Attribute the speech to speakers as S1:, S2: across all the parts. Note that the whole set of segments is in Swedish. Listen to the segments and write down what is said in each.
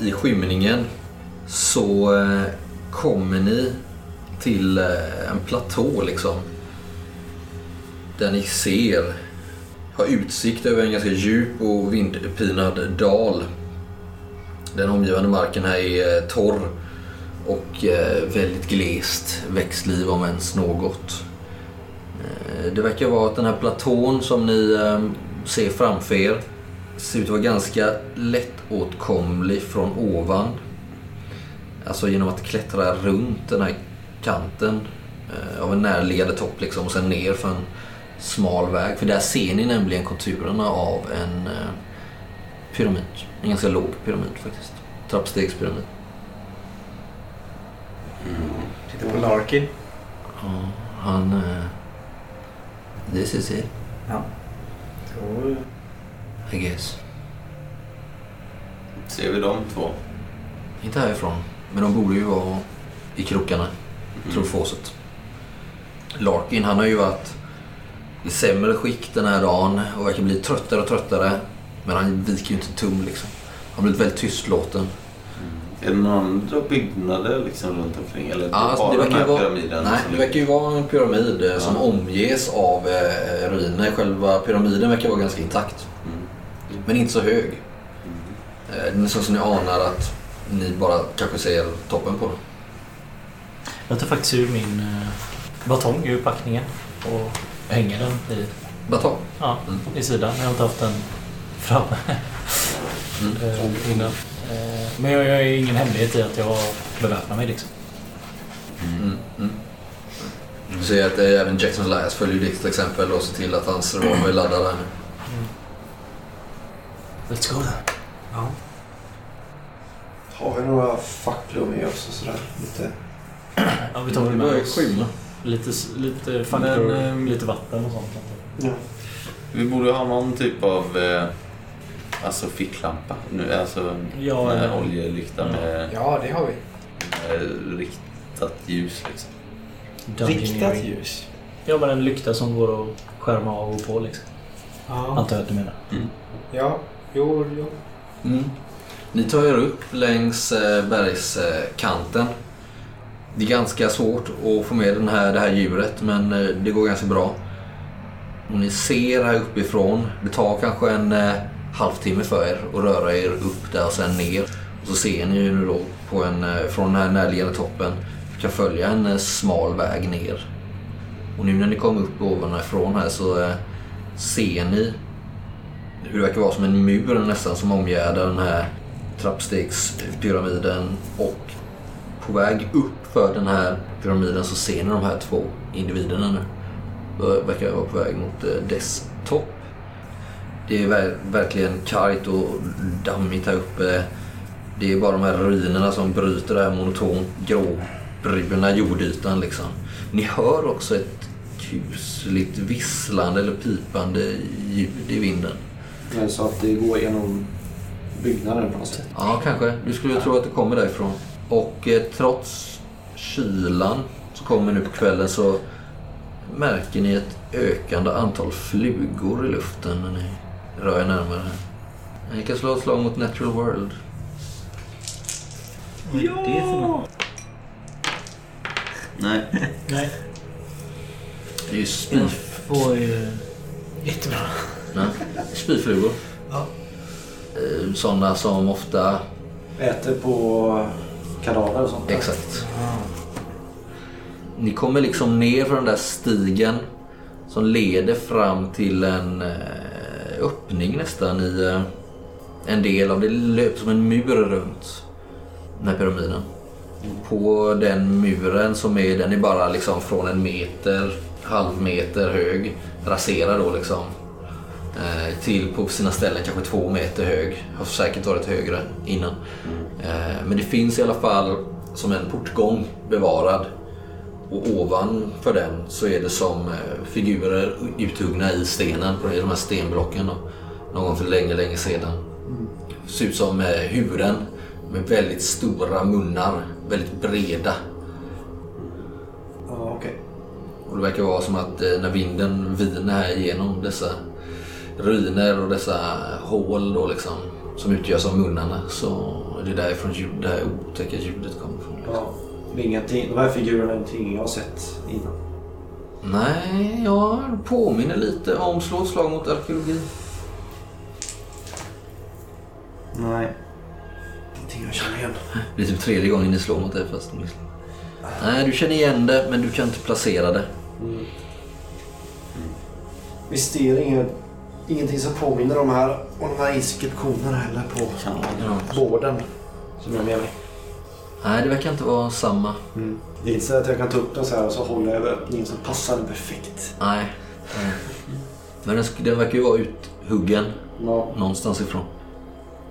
S1: I skymningen så eh, kommer ni till eh, en platå liksom. Där ni ser, har utsikt över en ganska djup och vindpinad dal. Den omgivande marken här är eh, torr och eh, väldigt glest växtliv om ens något. Eh, Det verkar vara att den här platån som ni eh, ser framför er ser ut att vara ganska lättåtkomlig från ovan. Alltså genom att klättra runt den här kanten eh, av en närliggande topp liksom och sen ner för en smal väg. För där ser ni nämligen konturerna av en eh, pyramid. En ganska låg pyramid faktiskt. Trappstegspyramid.
S2: Sitter på Larkin.
S1: Ja, han... eh, This is it,
S2: Då
S1: I guess.
S3: Ser vi de två? Mm.
S1: Inte härifrån, men de borde ju vara i krokarna.
S3: Mm.
S1: trofåset. Larkin han har ju varit i sämre skick den här dagen och verkar bli tröttare och tröttare. Men han viker ju inte en tum liksom. Han har blivit väldigt tystlåten.
S3: Är det några andra byggnader liksom runt omkring? Eller
S1: Ja, alltså,
S3: bara
S1: det
S3: den
S1: verkar
S3: här
S1: ju vara-
S3: pyramiden?
S1: Nej,
S3: som
S1: det
S3: ligger-
S1: verkar ju vara en pyramid eh, som
S3: Ja.
S1: omges av eh, ruiner. Själva pyramiden verkar vara ganska intakt.
S3: Mm.
S1: Men inte så hög. Eh, det är nästan så ni anar att ni bara kanske ser toppen på den.
S4: Jag tar faktiskt ur min eh, batong ur packningen och hänger den i,
S1: Batong.
S4: ja,
S1: Mm.
S4: i sidan. Jag har inte haft den framme
S1: Mm.
S4: eh, innan. Eh, men jag, jag är ingen hemlighet i att jag beväpnar mig liksom.
S1: Mm, mm. Du ser att eh, även Jackson Elias följer ditt exempel och ser till att hans revolver är laddad där nu.
S4: Mm. Let's go then.
S5: Har vi några facklor med oss och sådär? Lite.
S4: Ja, vi tar väl med oss
S1: skymma.
S4: lite, s- lite faktor,
S3: Men, ehm,
S4: lite vatten och sånt. antar
S5: Ja.
S3: Vi borde ha någon typ av eh, alltså ficklampa. Nu, alltså
S4: jag. Ja,
S3: en
S4: eh,
S3: oljelykta
S4: Ja.
S3: med
S2: Ja, det har vi.
S3: eh, riktat ljus. Liksom.
S4: dungeoneering.
S2: Riktat ljus.
S4: Ja, bara en lykta som går att skärma av och på liksom.
S2: Ja.
S4: Antar jag att du menar.
S2: Ja. Jo, jo.
S1: Mm. Ni tar er upp längs eh, bergskanten. Det är ganska svårt att få med den här, det här djuret men eh, det går ganska bra. Och ni ser här uppifrån, det tar kanske en eh, halvtimme för er att röra er upp där och sen ner. Och så ser ni ju nu då på en, eh, från den här närliggande toppen kan följa en eh, smal väg ner. Och nu när ni kommer upp ovanifrån här så eh, ser ni hur det verkar vara som en mur nästan som omgärdar den här trappstegspyramiden och på väg upp för den här pyramiden så ser ni de här två individerna nu. De verkar vara på väg mot eh, dess topp. Det är ver- verkligen kargt och dammigt här uppe. Det är bara de här ruinerna som bryter det här monotont gråbruna jordytan liksom. Ni hör också ett kusligt visslande eller pipande ljud i vinden.
S5: Men så att det går genom byggnaden på något sätt.
S1: Ja, kanske. Du skulle tro att det kommer därifrån. Och eh, trots kylan som kommer nu på kvällen så märker ni ett ökande antal flugor i luften när ni rör er närmare. Ni kan slå ett slag mot Natural World.
S3: Nej.
S4: Nej.
S1: Det är ju spyf...
S4: På, Jättebra.
S1: Nej, spyflugor.
S4: Ja.
S1: Sådana som ofta...
S5: Äter på kadaver och sånt där.
S1: Exakt. Ni kommer liksom ner från den där stigen som leder fram till en eh, öppning nästan i eh, en del av det löp som en mur runt den här pyramiden.
S5: Mm.
S1: På den muren som är, den är bara liksom från en meter, halv meter hög, raserad då liksom. Eh, till på sina ställen kanske två meter hög. Har säkert varit högre innan. Eh, men det finns i alla fall som en portgång bevarad. Och ovanför den så är det som eh, figurer uthuggna i stenen, på de här stenblocken då, någon för länge, länge sedan. Ser ut som eh, huvuden med väldigt stora munnar, väldigt breda.
S5: Ja, okej.
S1: Och det verkar vara som att eh, när vinden viner här igenom dessa ruiner och dessa hål då liksom, som utgörs av munnarna så är det därifrån ljud, det här otäcka ljudet kommer ifrån.
S5: Ja. Det är ingenting- De här figurerna är ingenting jag har sett innan.
S1: Nej, jag påminner lite om slå ett slag mot arkeologi.
S5: Nej. Ingenting jag känner igen.
S1: Det är typ tredje gången ni slår mot det fast ni misslyckas. Nej, du känner igen det men du kan inte placera det.
S5: Mm. Visst är det inget, ingenting som påminner om, här, om de här inskriptionerna heller på
S3: Kan man.
S5: båden som jag är med mig.
S1: Nej, det verkar inte vara samma.
S5: Det är inte så att jag kan ta upp den så här och så håller jag över öppningen så passar den perfekt.
S1: Nej. Men den, sk- den verkar ju vara uthuggen
S5: Ja.
S1: någonstans ifrån.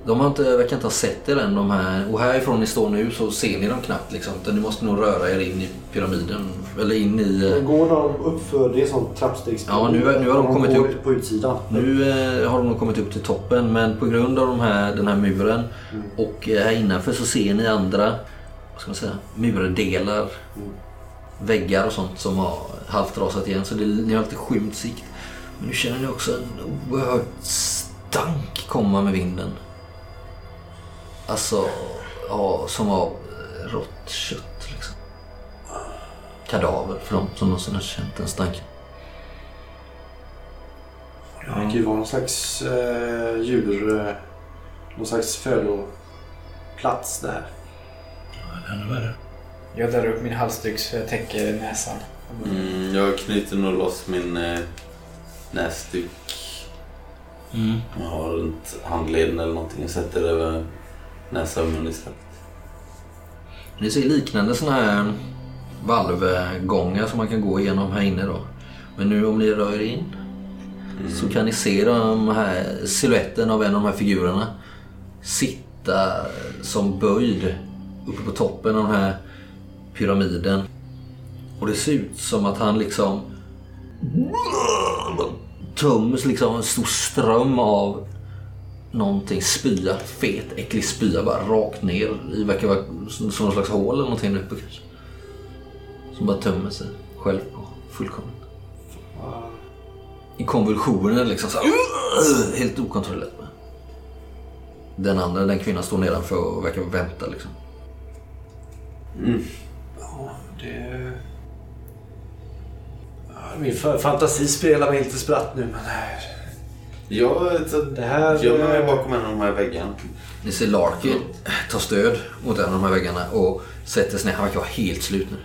S1: De har inte, verkar inte ha sett er än de här. Och härifrån ni står nu så ser ni dem knappt liksom. Utan ni måste nog röra er in i pyramiden. Eller in i... eh,
S5: Men Går de upp för det är sånt trappstegs...
S1: Ja, nu är- nu har de
S5: Om
S1: kommit
S5: går
S1: upp.
S5: på utsidan.
S1: Nu eh, har de nog kommit upp till toppen men på grund av de här, den här muren och eh, här innanför så ser ni andra vad ska man säga, murdelar, väggar och sånt som har halvt rasat igen så det, ni har lite skymd sikt. Men nu känner ni också en oerhörd stank komma med vinden. Alltså, ja, som av eh, rått kött liksom. Kadaver för dem som någonsin har känt den stanken.
S5: Det verkar ju vara någon slags eh, djur... Eh, någon slags födoplats det här.
S4: Ännu värre.
S2: Jag drar upp min halsduk så jag täcker näsan.
S3: Mm, jag knyter nog loss min eh, näsduk.
S4: Mm.
S3: Jag har runt handleden eller någonting och sätter över näsa och mun istället.
S1: Ni ser liknande såna här valvgångar som man kan gå igenom här inne då. Men nu om ni rör er in så kan ni se de här siluetten av en av de här figurerna sitta som böjd uppe på toppen av den här pyramiden. Och det ser ut som att han liksom töms liksom av en stor ström av någonting, spya, fet, äcklig spya bara rakt ner i, verkar vara som som någon slags hål eller någonting uppe kanske. Som bara tömmer sig själv på fullkomligt. I konvulsioner liksom så här, helt okontrollerat. Med. Den andra, den kvinnan står nedanför och verkar vänta liksom.
S5: Det... Ja, Min fa- fantasi spelar mig lite spratt nu men... eh,
S3: Jag så,
S5: Det här- eh,
S3: gömmer mig bakom en av de här väggarna.
S1: Ni ser Larky ta stöd mot en av de här väggarna och sätter sig ner. Han verkar vara helt slut nu.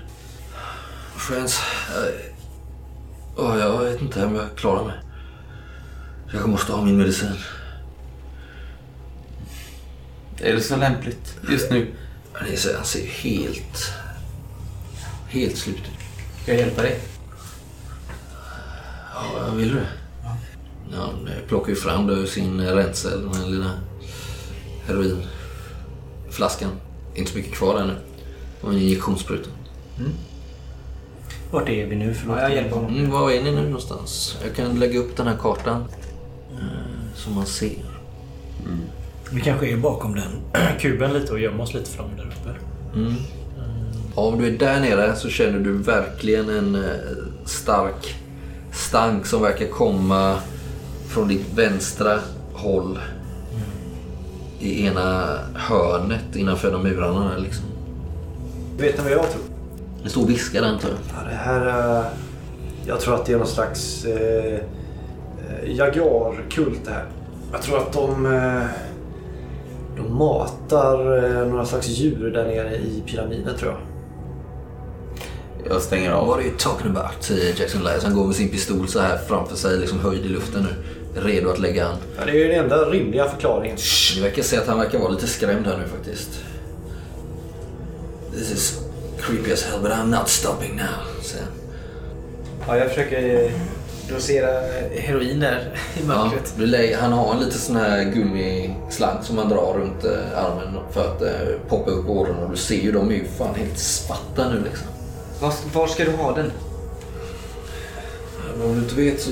S1: Friends, eh, åh, jag vet inte om jag klarar mig. Jag måste ha min medicin.
S3: Är det så lämpligt just nu?
S1: Men ni ser, han ser ju helt, helt slut ut.
S4: Ska jag hjälpa dig?
S1: Ja, vill du? Ja, Han eh, plockar ju fram då ur sin rensel, den här lilla heroinflaskan. Inte så mycket kvar ännu. Och en injektionsspruta.
S4: Vart är vi nu? Förlåt.
S2: Ja, jag hjälper honom.
S1: Mm, var är ni nu någonstans? Jag kan lägga upp den här kartan eh, så man ser.
S4: Vi kanske är bakom den kuben lite och gömmer oss lite från där uppe.
S1: Mm. Ja, om du är där nere så känner du verkligen en eh, stark stank som verkar komma från ditt vänstra håll. I ena hörnet innanför de murarna. där, Liksom.
S5: Vet ni vad jag tror?
S1: Det står viskar där antar jag.
S5: Ja, det här... eh, Jag tror att det är någon slags eh, eh, jagarkult det här. Jag tror att de... Eh, de matar eh, några slags djur där nere i pyramiden tror jag.
S3: Jag stänger
S1: Ja, What
S3: av.
S1: are you talking about? säger Jackson Lyons. Han går med sin pistol så här framför sig, liksom höjd i luften nu. Redo att lägga an.
S5: Ja, det är ju den enda rimliga förklaringen.
S1: Ni verkar se att han verkar vara lite skrämd här nu faktiskt. This is creepy as hell but I'm not stopping now, säger han.
S2: Ja, jag försöker eh, dosera heroin där i
S1: Ja,
S2: mörkret.
S1: du lä- han har en liten sån här gummislang som man drar runt eh, armen för att eh, poppa upp åren och du ser ju de är ju fan helt svarta nu liksom.
S2: Var, var ska du ha den?
S1: Men om du inte vet så...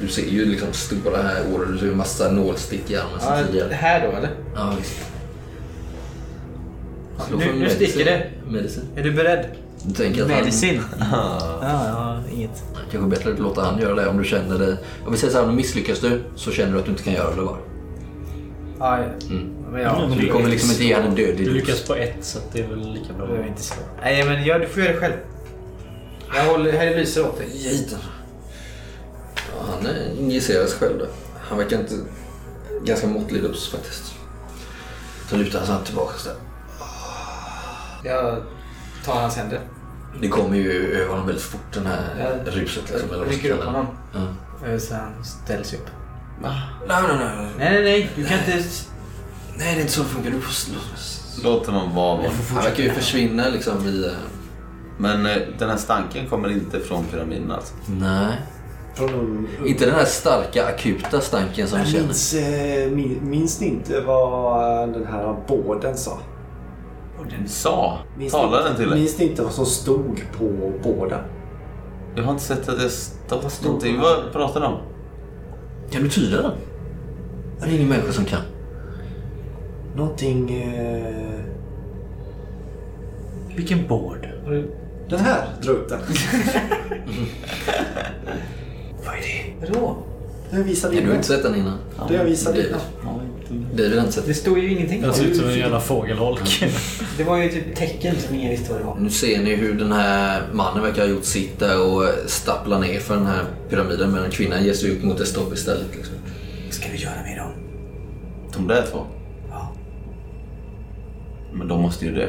S1: Du ser ju liksom stora här år och du ser en massa nålstick i
S4: Alltså,
S1: armen sen tidigare.
S2: här då eller?
S1: Ja, visst. Slå
S2: Nu-
S1: för
S2: nu
S1: medicin.
S2: sticker det.
S1: Medicin.
S2: Är du beredd?
S1: Du tänker att han...
S4: Medicin. Ja, jag har inget.
S1: Kanske bättre att låta han göra det om du känner det. Om vi säger så här, om du misslyckas du så känner du att du inte kan göra det bara.
S2: Ja, men
S4: Mm, men
S1: Du kommer liksom inte ge han en dödlig
S4: Du
S1: dos.
S4: lyckas på ett så att det är väl lika bra.
S2: behöver inte slå. Nej, men ja, du får göra det själv. Jag håller, här lyser åt dig.
S1: Ge hit den. Ja, han eh, injicerar sig själv. Då. Han verkar inte... Ganska måttlig dos faktiskt. Så lutar han sig tillbaka. Så där.
S2: Jag tar hans händer.
S1: Det kommer ju över honom väldigt fort den här
S2: Ja.
S1: ruset. Liksom, eller vad
S2: Jag
S1: man
S2: rycker
S1: ska
S2: upp
S1: kalla
S2: honom.
S1: det. Ja.
S2: Eh, Så han ställs upp.
S1: Nej, nej, nej.
S2: Nej, nej, nej. Du kan inte...
S1: Nej, det är inte så det funkar. Du får slå.
S3: Låt honom vara. va?
S1: Han verkar ju försvinna liksom i... eh,
S3: Men eh, den här stanken kommer inte från pyramiden alltså.
S1: Nej.
S5: Från de...
S1: Inte den här starka akuta stanken som vi
S5: Jag
S1: känner.
S5: minns, eh, min- minns ni inte vad eh, den här båden sa?
S3: Sa?
S5: Minns ni
S3: Talade
S5: inte-
S3: den till dig?
S5: Minns ni inte vad som stod på båden?
S3: Jag har inte sett att det stått någonting. Vad pratar de om?
S1: Kan du tyda den? Det är ingen människa som kan.
S5: Någonting... Eh,
S4: Vilken board?
S5: den här, dra upp den.
S2: Vadå?
S5: Den visade
S1: Nej, du har
S5: innan.
S1: inte sett den innan?
S5: Den jag visade
S1: Det-
S5: innan.
S1: David har inte sett
S2: Det stod ju ingenting.
S4: Den ser ut som en jävla fågelholk.
S2: Det var ju typ tecken som ingen visste vad det var.
S1: Nu ser ni hur den här mannen verkar ha gjort sitt där och stapplar ner för den här pyramiden medan kvinnan ger sig ut mot ett stopp istället. Liksom.
S2: Vad ska vi göra med dem?
S3: De där två?
S2: Ja.
S3: Men de måste ju dö.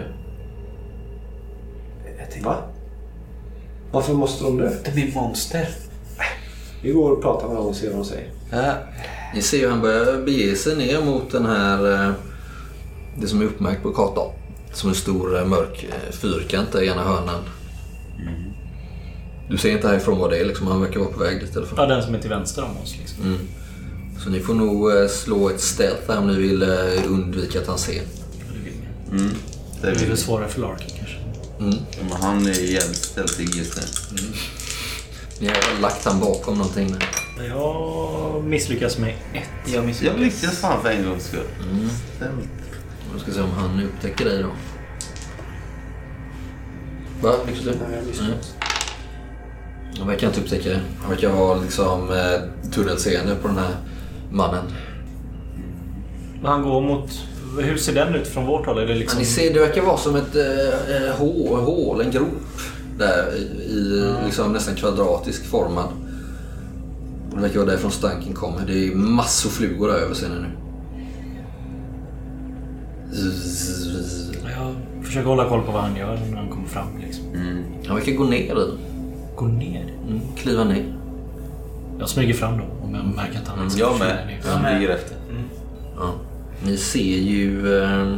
S2: Jag tänkte,
S5: Va? Varför måste de dö?
S2: De är monster.
S5: Vi går och pratar med dem och ser vad de säger.
S1: Ni ser hur han börjar bege sig ner mot den här, eh, det som är uppmärkt på kartan. Som en stor eh, mörk eh, fyrkant där i ena hörnan. Du ser inte härifrån vad det är, liksom. han verkar vara på väg dit i alla fall.
S4: Ja, den som är till vänster om oss. Liksom.
S1: Så ni får nog eh, slå ett stealth här om ni vill eh, undvika att han ser.
S3: Mm. Det
S4: Det
S3: är
S4: är väl
S3: vi.
S4: svårare för Larkin kanske.
S1: Mm.
S3: Men han är jävligt ställd just nu.
S1: Ni har lagt han bakom någonting. där.
S4: Jag misslyckas med ett.
S2: Jag
S3: Jag lyckades fan för en gångs skull. Ställt.
S1: Vi ska se om han upptäcker dig då. Va? Lyckas du?
S5: Nej, jag
S4: Mm.
S1: Nej.
S5: misslyckades.
S1: Han verkar inte upptäcka dig. Han verkar ha liksom eh, tunnelseende på den här mannen.
S4: Han går mot... Hur ser den ut från vårt håll? Är det
S1: Men
S4: liksom...
S1: ni ser, det verkar vara som ett eh, eh, hå- hål, en grop. Där i, i liksom nästan kvadratisk formad. Och det verkar vara därifrån stanken kommer. Det är massor flugor där över ser ni nu. Zzz.
S4: Jag försöker hålla koll på vad han gör när han kommer fram. Liksom.
S1: Han verkar gå ner i den.
S4: Gå ner.
S1: Mm, kliva ner.
S4: Jag smyger fram då om jag märker att han inte
S3: Mm, Jag
S4: försvinner
S3: med.
S4: ner.
S3: Han ligger efter.
S1: Ja. Ni ser ju... ehm,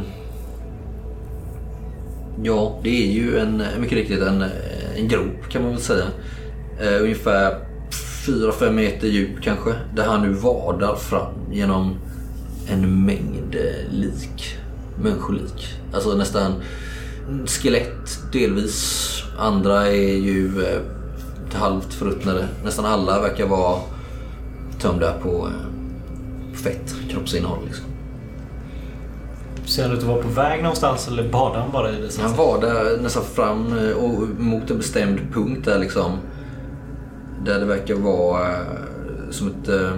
S1: Ja, det är ju en, mycket riktigt en, eh, en grop kan man väl säga. Eh, ungefär 4-5 meter djup kanske. Där han nu vadar fram genom en mängd eh, lik. Människolik. Alltså nästan skelett delvis. Andra är ju eh, halvt förruttnade. Nästan alla verkar vara tömda på eh, fett, kroppsinnehåll. Liksom.
S4: Ser han ut att vara på väg någonstans eller badar han bara i det?
S1: Han var där nästan fram eh, och mot en bestämd punkt där liksom. Där det verkar vara eh, som ett eh,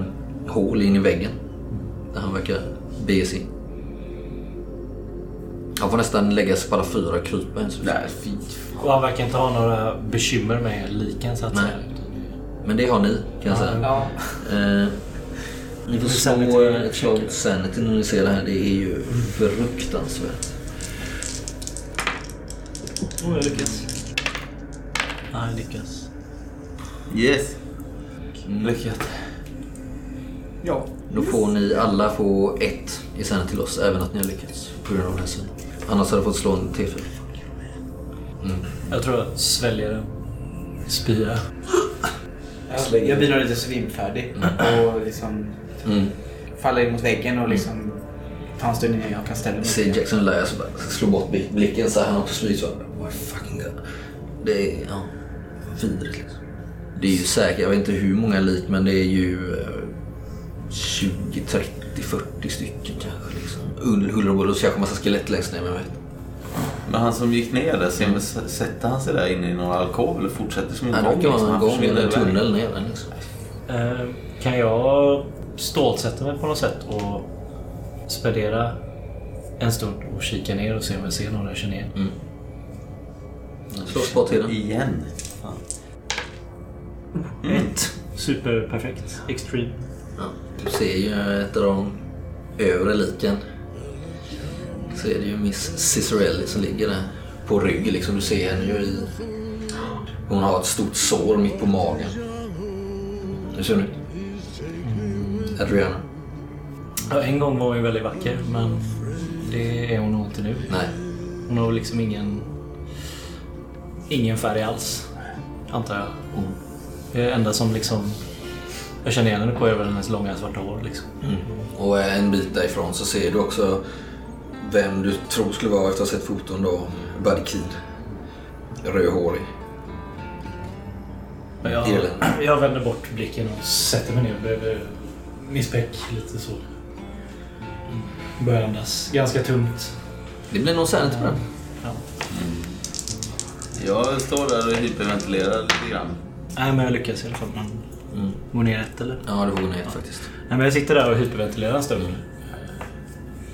S1: hål in i väggen. Där han verkar bege sig in. Han får nästan lägga sig på alla fyra och krypa ens.
S3: Nej, fy fan.
S4: Och han verkar inte ha några bekymmer med liken så att
S1: Nej.
S4: säga. Utan-
S1: Men det har ni kan jag säga.
S2: Ja.
S1: Eh, ni får
S4: Sanity.
S1: slå eh, ett slag mot Sanity när ni ser det här. Det är ju fruktansvärt.
S4: Oh, jag lyckas. Nej, jag lyckas.
S3: Yes. Lyckat.
S2: ja.
S1: Då får ni alla få ett i sen till oss, även att ni har lyckats på grund av den här synen. Annars hade jag fått slå en T4.
S4: Jag tror jag sväljer en spya.
S2: Jag, jag blir nog lite svimfärdig och liksom
S1: Mm.
S2: faller in mot väggen och liksom tar en stund innan jag kan ställa mig.
S1: Ser Jackson Elias och bara slår bort blicken så här, han har på smyg så här, oh my fucking god. Det är ja, vidrigt. Liksom. Det är ju säkert, jag vet inte hur många lik, men det är ju eh, 20, 30, 40 stycken kanske. Liksom. Under huller och buller, och så kanske massa skelett längst ner, men jag vet inte.
S3: Men han som gick ner där, ser, sätter han sig där inne i någon alkov eller fortsätter som en
S1: Nej,
S3: gång?
S1: Det kan
S3: liksom?
S1: vara en
S3: Han
S1: gång
S3: försvinner
S1: eller en
S3: iväg.
S1: tunnel ner. den, Liksom.
S4: Eh, Kan jag stålsätta mig på något sätt och spendera en stund och kika ner och se om jag ser någon jag känner igen?
S1: Slå spårtiden.
S3: Igen.
S4: Ett. Superperfekt. Extreme.
S1: Ja, du ser ju ett av de övre liken. Så är det ju Miss Cicerelli som ligger där på rygg. Liksom. Du ser henne ju i... Hon har ett stort sår mitt på magen. Hur ser hon ut? Adriana?
S4: Ja, en gång var hon ju väldigt vacker, men det är hon nog inte nu.
S1: Nej.
S4: Hon har liksom ingen, ingen färg alls, antar jag. Det enda som liksom jag känner igen henne på är väl hennes långa svarta hår. Liksom.
S1: Och en bit därifrån så ser du också vem du tror skulle vara efter att ha sett foton då. Buddy Keed. Rödhårig.
S4: Men jag,
S1: Irland.
S4: jag vänder bort blicken och sätter mig ner bredvid Miss Beck lite så. Börjar andas ganska tungt.
S1: Det blir nog sanity på den.
S4: Ja.
S3: Jag står där och hyperventilerar lite grann.
S4: Nej, men jag lyckas i alla fall. Man
S1: Mm.
S4: går ner ett eller?
S1: Ja, det får gå ner faktiskt.
S4: Nej, men jag sitter där och hyperventilerar en stund.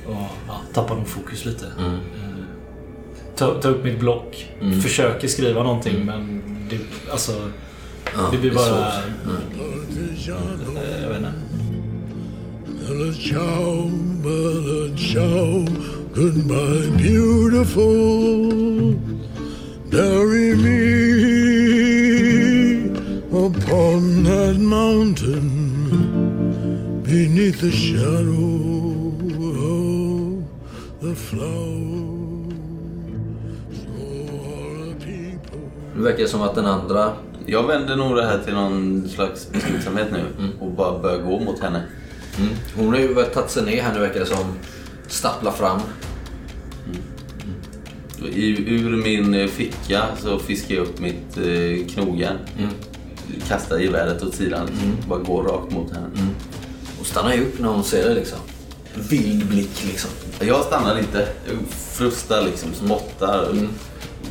S4: Och ja, tappar nog fokus lite.
S1: Mm.
S4: Eh, Ta, ta upp mitt block.
S1: Mm.
S4: Försöker skriva någonting men det, alltså,
S1: Ja,
S4: det blir
S1: är
S4: bara...
S1: svårt. Mm.
S4: eh, Jag vet inte.
S6: Bella ciao, bella ciao, goodbye, beautiful. Bury me upon that mountain beneath the shadow of the flower. So are people.
S1: Nu verkar det som att den andra...
S3: Jag vänder nog det här till någon slags beslutsamhet nu och bara börjar gå mot henne.
S1: Mm, hon har ju väl tagit sig ner här nu verkar det som. Stapplar fram.
S3: I, ur min eh, ficka så fiskar jag upp mitt eh, knogjärn.
S1: Mm.
S3: Kastar geväret åt sidan liksom. bara går rakt mot henne.
S1: Mm. Och stannar ju upp när hon ser det liksom. Vild blick liksom.
S3: Jag stannar inte. Jag frustar liksom, spottar.
S1: Mm.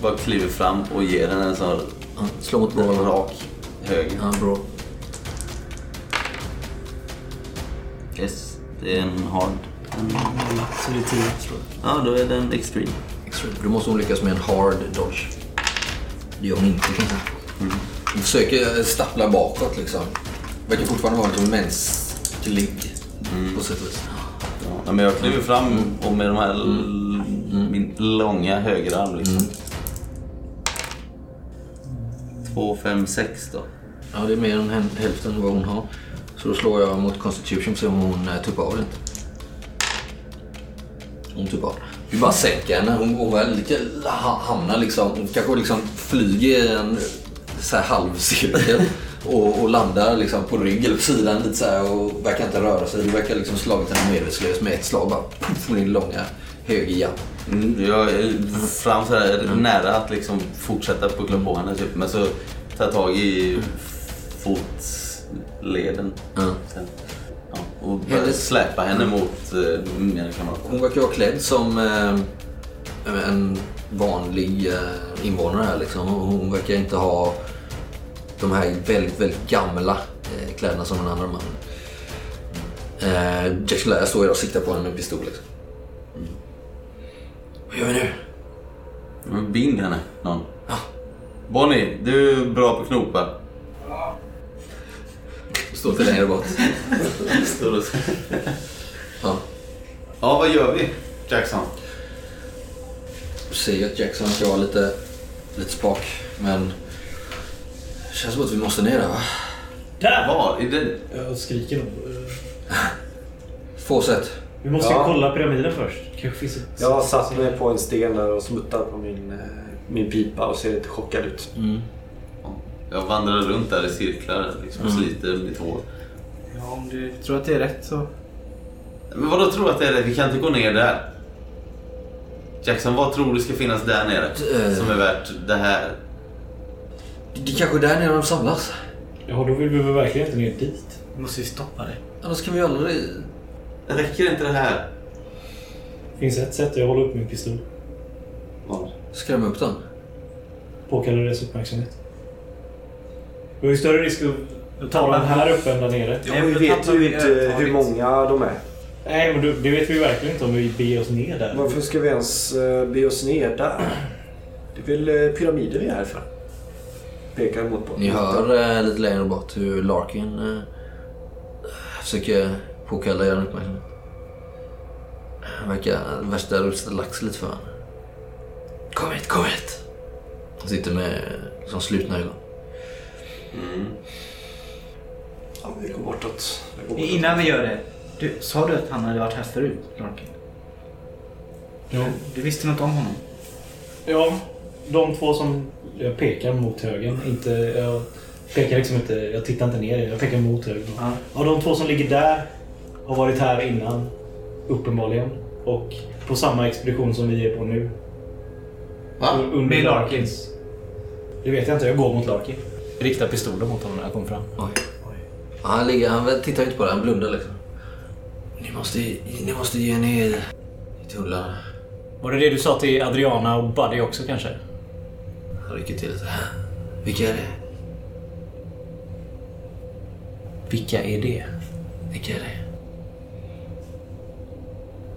S3: Bara kliver fram och ger henne en sån
S1: Ja, slå mot
S3: en
S1: bra.
S3: rak höger.
S1: Ja, bra.
S3: Yes, det är en hard.
S4: Så det är tio tror
S3: Ja, då är den extreme.
S1: Extreme. Då måste hon lyckas med en hard dodge. Det gör hon inte kanske. Hon försöker eh, stappla bakåt liksom. Verkar fortfarande vara liksom mänsklig. På sätt och vis.
S3: Ja, men jag kliver fram och med de här l- min långa högerarm liksom. Två, fem, sex då.
S1: Ja, det är mer än hä- hälften av vad hon har. Så då slår jag mot Constitution så om hon eh, tuppar av eller inte. Hon tuppar av. Du bara sänker henne. Hon, hon väl lika, ha- hamnar liksom, hon kanske liksom flyger i en så här halvcirkel och, och landar liksom på rygg eller på sidan lite så här och verkar inte röra sig. Du verkar liksom slagit henne medvetslös med ett slag bara poff med din långa högerjabb.
S3: Mm, Jag är fram så här nära att liksom fortsätta puckla på henne typ. Men så tar jag tag i fotleden.
S1: Ja.
S3: Sen, ja, och börjar
S1: Hennes-
S3: släpa henne mot eh, mina kamrater.
S1: Hon verkar vara klädd som eh, en vanlig eh, invånare här liksom. Hon hon verkar inte ha de här väldigt, väldigt gamla eh, kläderna som den andra mannen. Eh, Jackson Lair står ju där och siktar på henne med en pistol liksom. Vad gör vi nu?
S3: Men Bind henne, någon.
S1: Ja.
S3: Bonnie, du är bra på knopar.
S1: Står inte längre bort.
S3: Står och så-
S1: Ja.
S3: Ja, vad gör vi? Jackson.
S1: Du ser ju att Jackson ska vara lite, lite spak men det känns som att vi måste ner där va?
S4: Där!
S3: Var? Är det...
S4: Jag skriker nog.
S1: Få sätt.
S4: Vi måste
S5: Ja.
S4: ju kolla pyramiden först. Kanske finns ett...
S5: Jag satt mig på en sten där och smuttade på min, eh, min pipa och ser lite chockad ut.
S4: Mm.
S3: Jag vandrar runt där i cirklar liksom, och sliter mitt hår.
S2: Ja, om du tror att det är rätt så...
S3: Men vadå tror du att det är det? Vi kan inte gå ner där. Jackson, vad tror du ska finnas där nere?
S1: Eh.
S3: Som är värt det här?
S1: Det är kanske är där nere de samlas.
S7: Ja, då vill vi väl verkligen inte ner dit.
S4: Måste vi stoppa det?
S1: Annars kan vi aldrig...
S3: Räcker inte det här?
S7: Finns ett sätt, jag håller upp min pistol.
S3: Vad?
S1: skrämma upp den.
S7: Påkallar deras uppmärksamhet. Vi har ju större risk att ta den här uppe än där nere.
S5: Ja, vi vet ju inte hur många de är.
S7: Nej, men du- det vet vi ju verkligen inte om vi beger oss ner där.
S5: Varför ska vi ens eh, be oss ner där? Det är väl eh, pyramider vi är här för? Pekar mot på.
S1: Ni hör eh, lite längre bort hur Larkin eh, försöker påkalla er uppmärksamhet. Han verkar värsta rustet lax lite för honom. Kom hit, kom hit! Han sitter med eh, liksom, slutna ögon.
S5: Ja, vi går bortåt. Vi går bortåt.
S2: Innan vi gör det. Du, sa du att han hade varit här förut, Larkin?
S7: Jo.
S2: Du visste något om honom?
S7: Ja, de två som jag pekar mot högen. Inte, jag pekar liksom inte, jag tittar inte ner, jag pekar mot högen.
S2: Ja.
S7: Ja, de två som ligger där har varit här innan, uppenbarligen. Och på samma expedition som vi är på nu.
S3: Va?
S7: Un- Under
S2: Med Larkins.
S7: Det vet jag inte, jag går mot Larkin.
S4: Rikta pistolen mot honom när jag kommer fram.
S1: Oj. Ja, Han, ligger, han tittar inte på det, han blundar liksom. Ni måste, ni måste ge ner i tullarna.
S4: Var det det du sa till Adriana och Buddy också kanske?
S1: Han rycker till lite. Vilka är det?
S4: Vilka är det?
S1: Vilka är det?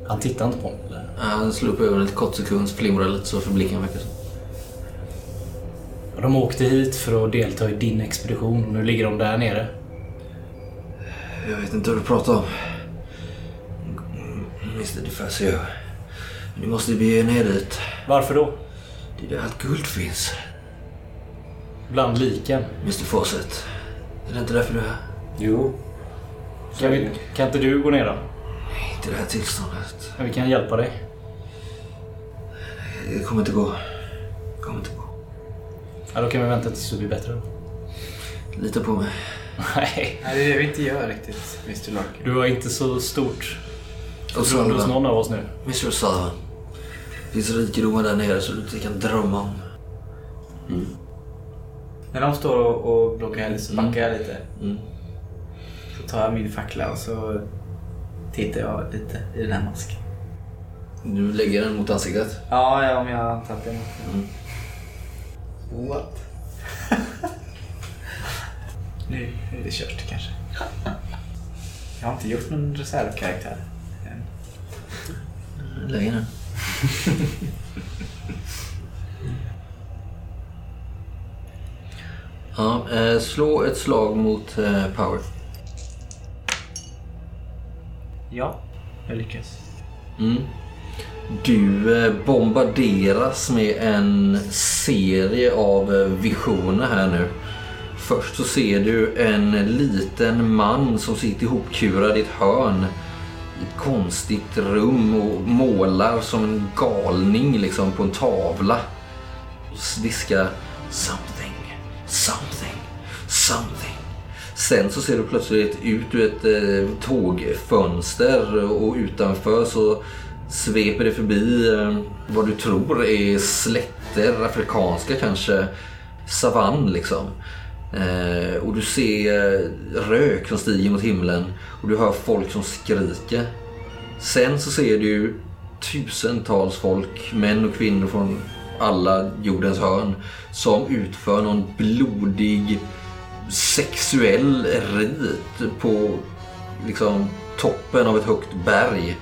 S4: Han tittar inte på mig. eller?
S1: Han slår upp ögonen ett kort sekund, flimrar lite så för blicken verkar så.
S4: Och De åkte hit för att delta i din expedition. Nu ligger de där nere.
S1: Jag vet inte vad du pratar om. Mr. DeFazio. Ni måste bege er ner dit.
S4: Varför då?
S1: Det är där allt guld finns.
S4: Bland liken.
S1: Mr. Fawcett. Är det inte därför du är här?
S5: Jo.
S4: Kan, vi, kan inte du gå ner då?
S1: Inte i det här tillståndet.
S4: Vi kan hjälpa dig.
S1: Det kommer inte gå. Det kommer inte gå.
S4: Ja, då kan vi vänta tills du blir bättre. då.
S1: Lita på mig.
S4: Nej,
S2: Nej, det är det vi inte gör riktigt, Mr Larkin.
S4: du har inte så stort
S1: Och
S4: förtroende hos
S1: Sullivan.
S4: någon av oss nu.
S1: Mr. Sullivan. Det finns rikedomar där nere som du inte kan drömma om.
S2: När de står och, och bloggar lite så backar jag lite. Så tar jag min fackla och så tittar jag lite i den här masken.
S1: Du lägger den mot ansiktet.
S2: Ja, ja om jag har tagit den. What? nu är det kört kanske. Jag har inte gjort någon reservkaraktär än.
S1: Lägger den. ja, eh, slå ett slag mot eh, power.
S2: Ja, jag lyckas.
S1: Mm. Du eh, bombarderas med en serie av eh, visioner här nu. Först så ser du en liten man som sitter ihopkurad i ett hörn i ett konstigt rum och målar som en galning liksom på en tavla. Och viskar “something, something, something”. Sen så ser du plötsligt ut ur ett eh, tågfönster och utanför så sveper det förbi eh, vad du tror är slätter, afrikanska kanske, savann liksom. Eh, och du ser eh, rök som stiger mot himlen och du hör folk som skriker. Sen så ser du tusentals folk, män och kvinnor från alla jordens hörn som utför någon blodig sexuell rit på liksom toppen av ett högt berg.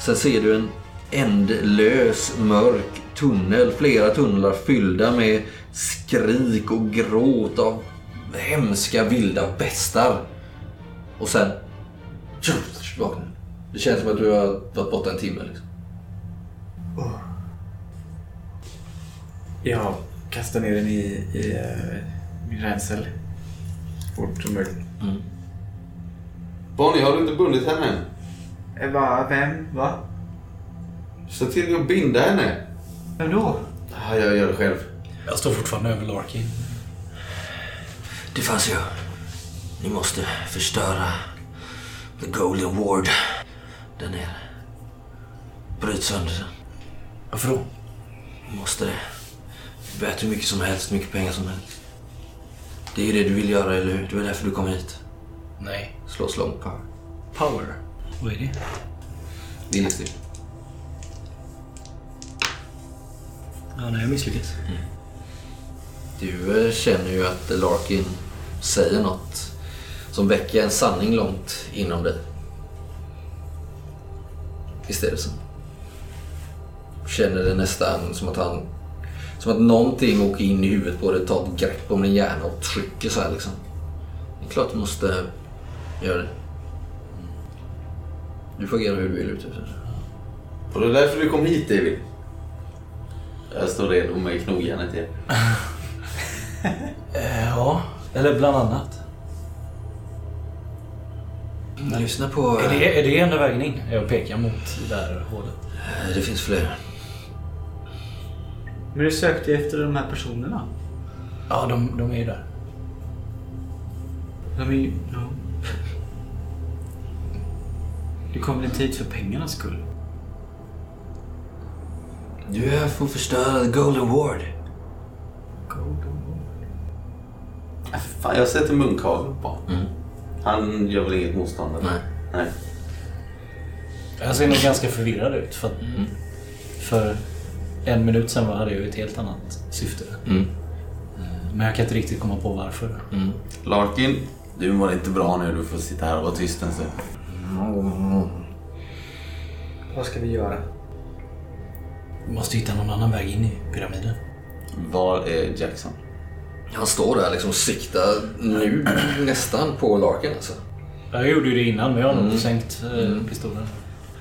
S1: Sen ser du en ändlös mörk tunnel, flera tunnlar fyllda med skrik och gråt av hemska vilda bestar. Och sen tjus, vaknar du. Det känns som att du har varit borta en timme. Liksom.
S2: Jag kastar ner den i, i eh, min ränsel. Fort som möjligt.
S3: Bonnie, har du inte bundit henne?
S2: Eh, Va, vem? Va?
S3: Se till att binda henne.
S2: Vem då?
S3: Ja, jag gör det själv.
S4: Jag står fortfarande över Larkin.
S1: Det fanns ju. Ni måste förstöra The Golden Ward där nere. Bryt sönder den.
S4: Varför då?
S1: Måste det. Vi vet hur mycket som helst, mycket pengar som helst. Det är ju det du vill göra, eller hur? Det var därför du kom hit.
S4: Nej.
S1: Slå slump power.
S4: Power. Vad är det?
S1: Viljestyrka.
S4: Ja, nej, jag misslyckats.
S1: Du eh, känner ju att Larkin säger något som väcker en sanning långt inom dig. Visst är det så? Känner det nästan som att han... Som att någonting åker in i huvudet på dig, tar ett grepp om din hjärna och trycker så här liksom. Det är klart du måste göra det. Mm. Du får agera hur du vill typ. ute.
S3: Och det är därför du kom hit David. Jag står redo med knogjärnet igen.
S4: Eh, Ja, eller bland annat.
S1: Lyssna på...
S4: Är det, är det enda vägen in? Jag pekar mot det där hålet.
S1: Eh, Det finns fler.
S2: Men du sökte ju efter de här personerna.
S4: Ja, de, de är ju där.
S2: De är ju... Ja. Du kom väl inte hit för pengarnas skull?
S1: Du är här för att förstöra The Golden Ward.
S3: Ah, för Fan, jag sätter munkavel på honom.
S1: Mm.
S3: Han gör väl inget motstånd? eller?
S1: Nej.
S3: Nej.
S4: Jag ser nog ganska förvirrad ut. För, att- för en minut sedan var- hade jag ju ett helt annat syfte. Eh,
S1: Mm.
S4: Men jag kan inte riktigt komma på varför.
S3: Larkin, du mår inte bra nu. Du får sitta här och vara tyst en stund.
S2: Vad ska vi göra?
S4: Vi måste hitta någon annan väg in i pyramiden.
S3: Var är Jackson?
S1: Han står där liksom siktar nu nästan på Larkin alltså.
S4: Jag gjorde ju det innan, men jag har nog sänkt eh, pistolen.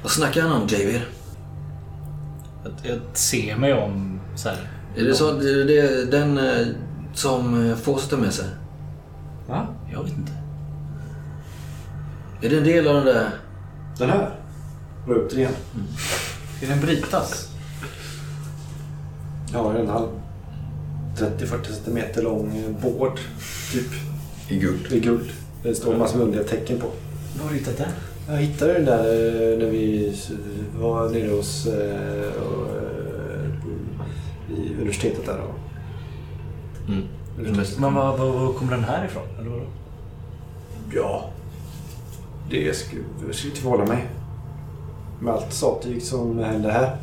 S1: Vad snackar han om David?
S4: Jag, jag ser mig om så här.
S1: Är det, så, är det den eh, som eh, Fawcett har med sig?
S2: Va?
S4: Jag vet inte.
S1: Är det en del av den där?
S5: Den här? Dra upp den igen.
S2: Ska den brytas?
S5: Ja, en halv 30-40 centimeter lång eh, bård. Typ.
S1: I guld.
S5: Det är guld. Det står massor med underliga tecken på.
S4: Var har du hittat det?
S5: Jag hittade den där eh, när vi s- var nere hos eh, och, eh, i universitetet där. och-
S1: Mm.
S5: Universitetet.
S4: Men var, var, var kommer den här ifrån? Eller vadå?
S5: Ja, det skulle, det skulle inte förvåna mig. Med allt sattyg som händer här.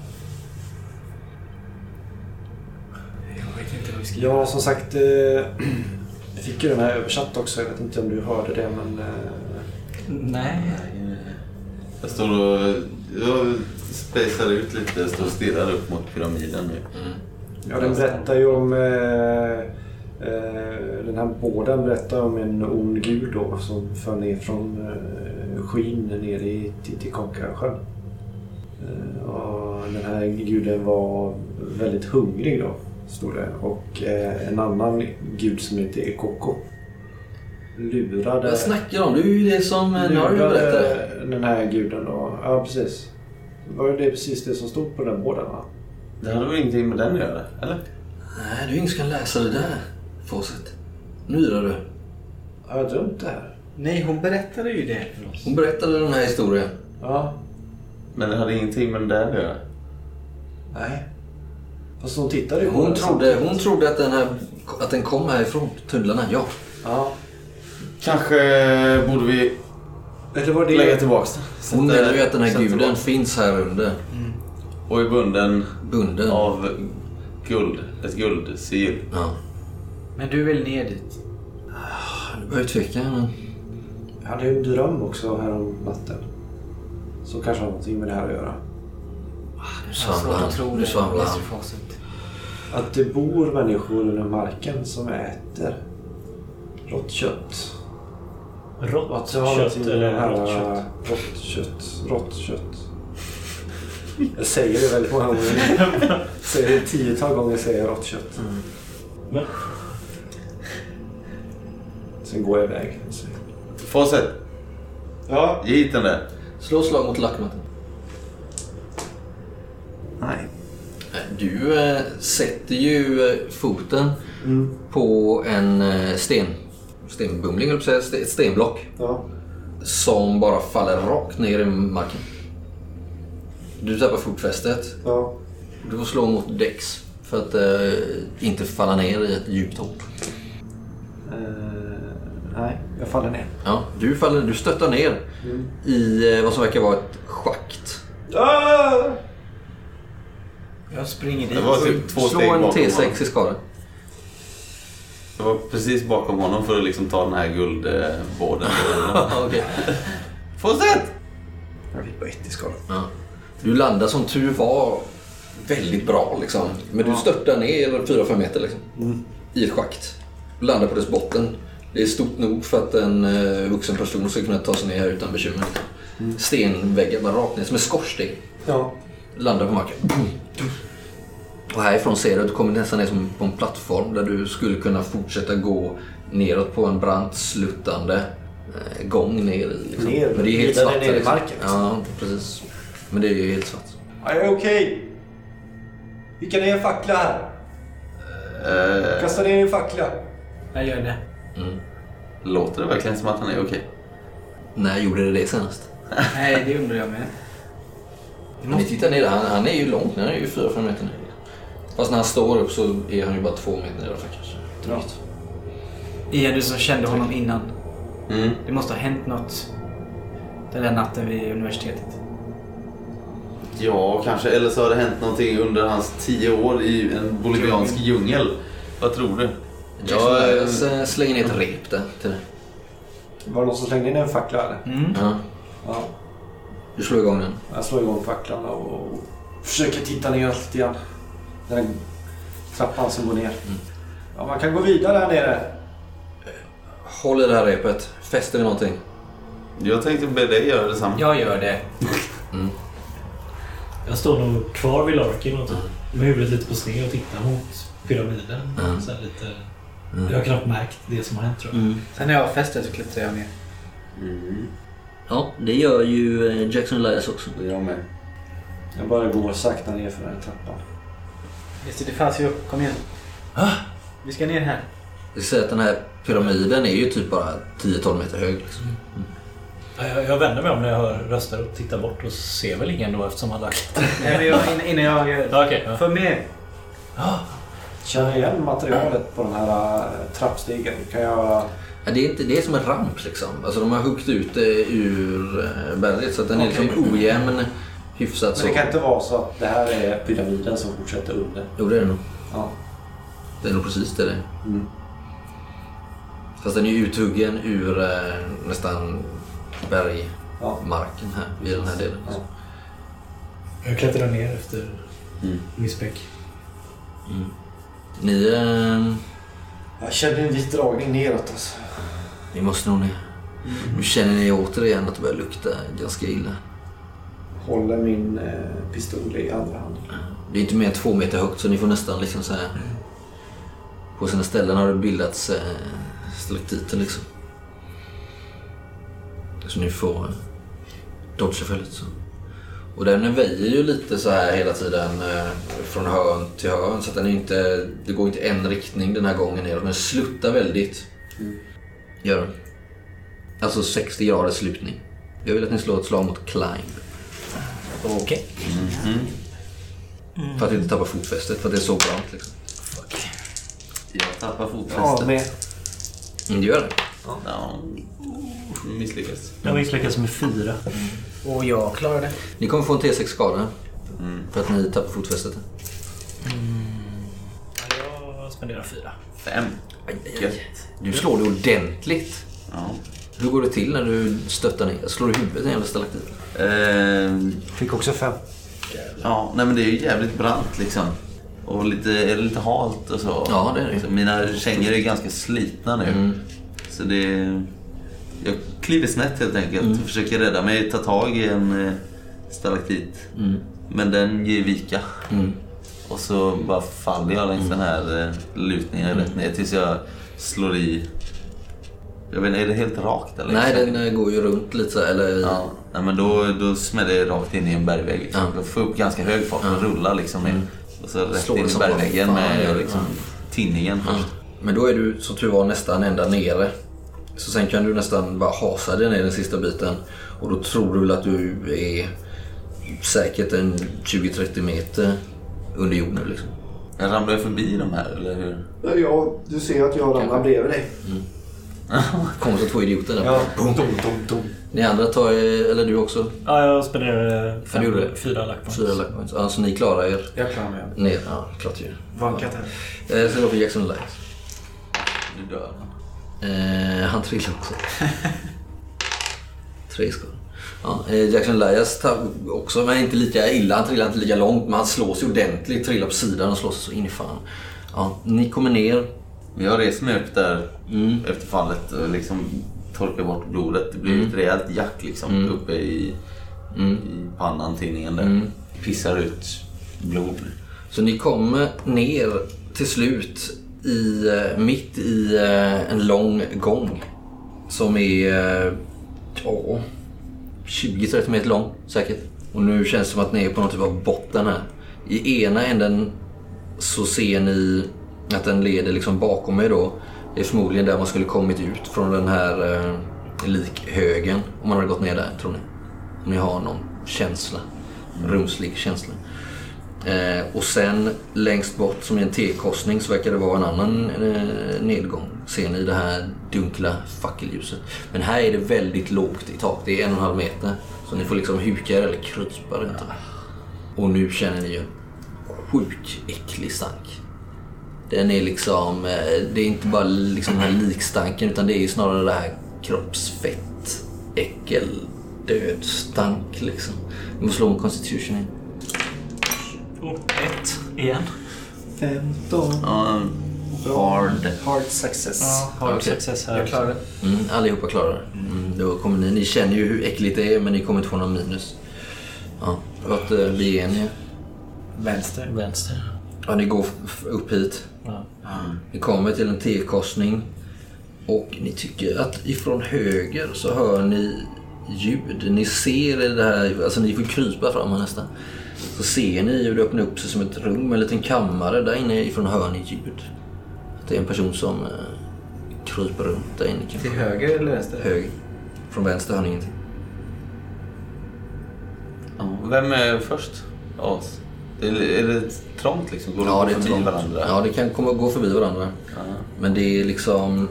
S2: Jag vet inte vad vi ska
S5: Ja, som sagt. eh, Jag fick ju den här översatt också. Jag vet inte om du hörde det men... eh,
S4: Nej.
S3: Jag står och... Jag spejsar ut lite. Jag står och stirrar upp mot pyramiden nu.
S5: Ja, den berättar ju om... Eh, eh, den här båden berättar om en ond gud då som föll ner från eh, skyn ner i Titicacasjön. Eh, och den här guden var väldigt hungrig då, stod det. Och eh, en annan gud som heter Ekoko lurade...
S1: Vad snackar de om? Det är ju det som eh, Narvi berättade.
S5: lurade den här guden då. Ja, precis. Var det precis det som stod på den här båden va?
S3: Det hade väl ingenting med den att göra? Eller?
S1: Nej, du är ingen som kan läsa det där. Fawcett. Nu yrar du.
S5: Har jag drömt det här?
S2: Nej, hon berättade ju det för oss.
S1: Hon berättade den här historien.
S5: Ja,
S3: Men det hade ingenting med den där att göra?
S5: Nej. Fast hon tittade ju på
S1: Hon
S5: den
S1: trodde,
S5: samtidigt.
S1: hon trodde att, den här, att den kom härifrån tunnlarna, ja.
S5: Ja.
S3: Kanske borde vi
S5: Eller var det...
S3: lägga tillbaka den.
S1: Hon
S3: Sätta-
S1: menar ju att den här
S3: sätta
S1: guden
S3: tillbaka.
S1: finns här under.
S3: Och är bunden
S1: Bunden.
S3: av guld. Ett guldsigill.
S1: Ja.
S2: Men du vill ner dit?
S1: Du behöver tveka, men...
S5: Jag hade ju en dröm också här om natten. Så kanske har någonting med det här att göra.
S1: Nu
S2: Alltså,
S1: svamlar han. Nu svamlar han.
S5: Att det bor människor under marken som äter rått kött. Och
S4: Rått
S5: att det har
S4: kött eh,
S5: någonting med det
S4: eller
S5: här-
S4: rått kött?
S5: Rått kött. Rått kött. Jag säger det väldigt många gånger. Jag säger det tiotal gånger säger jag rått kött.
S4: Men-
S5: Sen går jag iväg. Så-
S3: Fawcett,
S5: Ja.
S3: ge hit den där.
S1: Slå slag mot lackmattan.
S5: Nej.
S1: Du eh, sätter ju eh, foten Mm. på en eh, sten, stenbumling, höll jag på att säga, st- ett stenblock
S5: Ja.
S1: som bara faller rakt ner i marken. Du tappar fotfästet.
S5: Ja.
S1: Du får slå mot däcks för att eh, inte falla ner i ett djupt hopp.
S5: Eh, nej, jag faller ner.
S1: Ja, du, faller, du stöttar ner i eh, vad som verkar vara ett schakt.
S5: Ah!
S2: Jag springer dit.
S3: Det var typ två steg
S1: Slå en
S3: bakom honom.
S1: T6 i skada.
S3: Jag var precis bakom honom för att liksom ta den här guldbåden.
S1: Ja, okej.
S3: Fortsätt!
S1: typ-
S5: Jag fick bara ett i skada.
S1: Ja. Du landar som tur var väldigt bra liksom. Men du störtar ner 4-5 meter liksom. I ett schakt. Du landar på dess botten. Det är stort nog för att en eh, vuxen person ska kunna ta sig ner här utan bekymmer. liksom. Stenväggar bara rakt ner som en skorsten.
S5: Ja.
S1: Landar på marken. Boom, dum. Och härifrån ser du att du kommer nästan ner som på en plattform där du skulle kunna fortsätta gå neråt på en brant sluttande eh, gång ner i. Liksom.
S5: Ner,
S1: Men det är helt
S5: vidare
S1: svart.
S5: ner i
S1: där, liksom.
S5: marken, liksom.
S1: Ja, precis. Men det är ju helt svart.
S5: Jag är okej. Vilka är en fackla här?
S3: Eh,
S5: Kasta ner en fackla.
S2: Jag gör det.
S3: låter det verkligen som att han är okej?
S1: När gjorde det det senast?
S2: Nej, det undrar jag med.
S1: Om ni tittar ner, han, han är ju långt ner, han är ju 4-5 meter ner. Fast när han står upp så är han ju bara 2 meter ner kanske. Drygt.
S2: Ian, du som kände honom innan.
S3: Mm.
S2: Det måste ha hänt något den där natten vid universitetet.
S3: Ja, kanske. Eller så har det hänt någonting under hans tio år i en boliviansk djungel. Vad tror du?
S1: Ja,
S3: Jag, eh,
S1: jag s- slänger ner ett rep där till dig.
S5: Var det någon som slängde in en fackla eller?
S1: Ja,
S5: Ja.
S1: du slår igång den.
S5: Jag slår igång facklan och försöker titta ner lite grann. Den här trappan som går ner. Ja, man kan gå vidare här nere.
S1: Håll i det här repet, fäster vid någonting.
S3: jag tänkte be dig göra detsamma.
S2: Jag gör det.
S7: Jag står nog kvar vid Larkin och typ,
S4: Mm.
S7: med huvudet lite på sned och tittar mot pyramiden.
S4: Mm.
S7: Så här lite, Jag har knappt märkt det som har hänt
S1: Mm.
S7: tror jag.
S2: Sen när jag var festet så klättrade jag ner.
S3: Mm.
S1: Ja, det gör ju eh, Jackson Elias också.
S3: Jag med.
S5: Jag bara går sakta ner för den här trappan.
S2: Visst är det fanns ju upp. Kom igen. Vi ska ner här.
S1: Jag säger att den här pyramiden är ju typ bara 10-12 meter hög. Liksom.
S4: Ja, Jag, jag vänder mig om när jag hör röster och tittar bort och ser väl ingen då eftersom han lagt...
S2: Nej, men jag, innan, innan jag gör...
S4: Ja, okej.
S2: Följ med.
S5: Känner igen materialet på den här eh, trappstegen. Kan jag...
S1: Ja, det, är inte, det är som en ramp liksom. Alltså, de har huggit ut det ur eh, berget så att den är
S5: Okej.
S1: liksom ojämn, hyfsat
S5: Men
S1: så.
S5: det kan inte vara så att det här är pyramiden som fortsätter under.
S1: Jo, det är det nog.
S5: Ja.
S1: Det är nog precis det det är.
S5: Mm.
S1: Fast den är ju uthuggen ur eh, nästan bergmarken
S5: Ja.
S1: här, vid den här delen. liksom.
S7: Jag klättrar ner efter
S3: Mm.
S7: Miss Beck.
S1: Ni, eh,
S5: Jag känner en vit dragning neråt alltså.
S1: ni måste nog ner. Nu känner ni återigen att det börjar lukta ganska illa.
S5: Håller min eh, pistol i andra handen.
S1: Det är inte mer än två meter högt så ni får nästan liksom så här... På sina ställen har det bildats eh, stalaktiter liksom. Så ni får eh, dodga för lite så. Och den väjer ju lite så här hela tiden eh, från hörn till hörn så att den är inte, det går inte en riktning den här gången neråt. Den sluttar väldigt. Gör den. Alltså 60 graders slutning. Jag vill att ni slår ett slag mot climb.
S4: Okej.
S1: För att inte tappa fotfästet för att det är så brant liksom.
S3: Jag tappar
S5: Ja,
S3: fotfästet.
S5: med.
S1: Mm, det gör det.
S3: Ja, misslyckas.
S4: Jag misslyckas med fyra.
S2: Och jag klarar det.
S1: Ni kommer få en T6 skada. För att ni tappar fotfästet.
S4: Jag spenderar fyra.
S3: Fem. Gött.
S1: Du slår det ordentligt.
S3: Ja.
S1: Hur går det till när du stöttar ner? Slår du huvudet i en jävla stalaktit?
S3: Ehm,
S5: Fick också fem.
S3: Ja, nej men det är ju jävligt brant liksom. Och lite, är det lite halt och så.
S1: Ja, det är det Mm. ju.
S3: Så mina kängor är ganska slitna nu. Så det... Jag kliver snett helt enkelt.
S1: Mm.
S3: Försöker rädda mig, ta tag i en eh, stalaktit.
S1: Mm.
S3: Men den ger vika. Och så bara faller jag längs den här eh, lutningen
S1: Mm.
S3: rätt ner tills jag slår i... Jag vet inte, är det helt rakt eller?
S1: Nej, den eh, går ju runt lite så här, eller
S3: Ja, nej, men då, då smäller det rakt in i en bergvägg. Liksom.
S1: Ja. Mm.
S3: Jag får upp ganska hög fart och rullar liksom ner. Och så rätt
S1: Slår
S3: in i
S1: som bara
S3: bergväggen
S1: fan,
S3: med
S1: ja.
S3: liksom, tinningen först.
S1: Men då är du som tur var nästan ända nere. Så sen kan du nästan bara hasa dig ner den sista biten. Och då tror du väl att du är säkert en 20-30 meter under jorden nu liksom.
S3: Jag ramlade jag förbi de här eller hur?
S5: Ja, du ser att jag ramlar bredvid dig.
S1: Kommer så två idioter där.
S5: Ja.
S1: Boom.
S5: Dum, dum, dum.
S1: Ni andra tar, eh, eller du också,
S4: Ja, jag spenderade
S1: Vad gjorde
S4: fem,
S1: du?
S4: fyra lackpoints.
S1: fyra luck points. Ja, så ni klarar er
S2: Jag klarar mig.
S1: ner. Ja, klart ju.
S2: Vankat här.
S1: Eh, Sen går vi på Jackson Light.
S3: Du dör.
S1: Eh, han trillar också. Tre skor. Ja, eh, Jackson Elias tar också, men inte lika illa. Han trillar inte lika långt, men han slås ju ordentligt. Trillar på sidan och slås så in i fan. Ja, ni kommer ner.
S3: Men jag reser mig upp där
S1: Mm.
S3: efter fallet och liksom torkar bort blodet. Det blir
S1: Mm.
S3: ett rejält jack liksom uppe i, i pannan, tinningen där.
S1: Mm.
S3: Pissar ut blod.
S1: Så ni kommer ner till slut i, eh, mitt i eh, en lång gång. Som är eh, ja, 20-30 meter lång säkert. Och nu känns det som att ni är på någon typ av botten här. I ena änden så ser ni att den leder liksom bakom er då. Det är förmodligen där man skulle kommit ut från den här eh, likhögen. Om man hade gått ner där, tror ni. Om ni har någon känsla. Rumslig känsla. Eh, och sen längst bort som i en T-korsning så verkar det vara en annan eh, nedgång. Ser ni det här dunkla fackelljuset. Men här är det väldigt lågt i tak. Det är en och en halv meter. Så ni får liksom huka er eller krypa runt. Och nu känner ni ju sjuk äcklig stank. Den är liksom, eh, det är inte bara liksom den här likstanken utan det är ju snarare det här kroppsfett, äckel, dödstank liksom. Ni måste slå om constitution in.
S4: Och ett igen.
S2: 15.
S3: Ja, hard.
S2: Hard success.
S4: Har
S1: Okej.
S4: success här
S2: Jag
S4: också.
S2: klarar det.
S1: Mm, allihopa klarar det. Mm, då kommer ni, ni känner ju hur äckligt det är men ni kommer inte få någon minus. Ja, vart eh, beger ni er?
S2: Vänster.
S4: Vänster.
S1: Ja, ni går f- upp hit.
S4: Ja.
S1: Ni kommer till en T-korsning. Och ni tycker att ifrån höger så hör ni ljud. Ni ser i det här, alltså ni får krypa fram här nästan. Så ser ni hur det öppnar upp sig som ett rum, en liten kammare. Där inne ifrån hör ni ljud. Att det är en person som eh, kryper runt där inne kanske.
S2: Till höger eller vänster?
S1: Höger. Från vänster hör ni ingenting.
S3: Ja, vem är först av oss? Det Är, är det trångt liksom? Går
S1: Ja,
S3: de
S1: det är
S3: förbi
S1: trångt.
S3: varandra?
S1: Ja, det kan komma gå förbi varandra. Men det är liksom...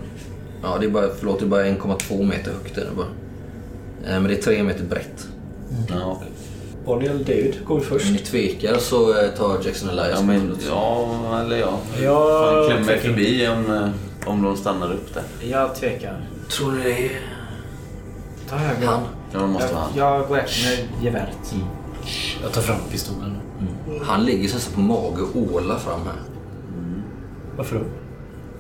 S1: Ja, det är bara, förlåt, det är bara 1,2 meter högt. Är det bara. Eh, Men det är 3 meter brett.
S3: Ja, okej.
S5: Bonnie David går
S1: Om
S5: först.
S1: ni tvekar så eh, tar Jackson Elias
S3: Mm. ja, men, ja eller ja.
S7: Jag
S3: Fan, klämmer
S7: tänker-
S3: förbi om, eh, om de stannar upp där.
S2: Jag tvekar.
S1: Tror ni det är
S2: Ta höger.
S1: han?
S3: Ja, de måste vara
S2: Jag,
S3: han.
S2: jag går efter med geväret.
S4: Jag tar fram pistolen.
S1: Han ligger sig så på mage och ålar fram här.
S7: Varför då?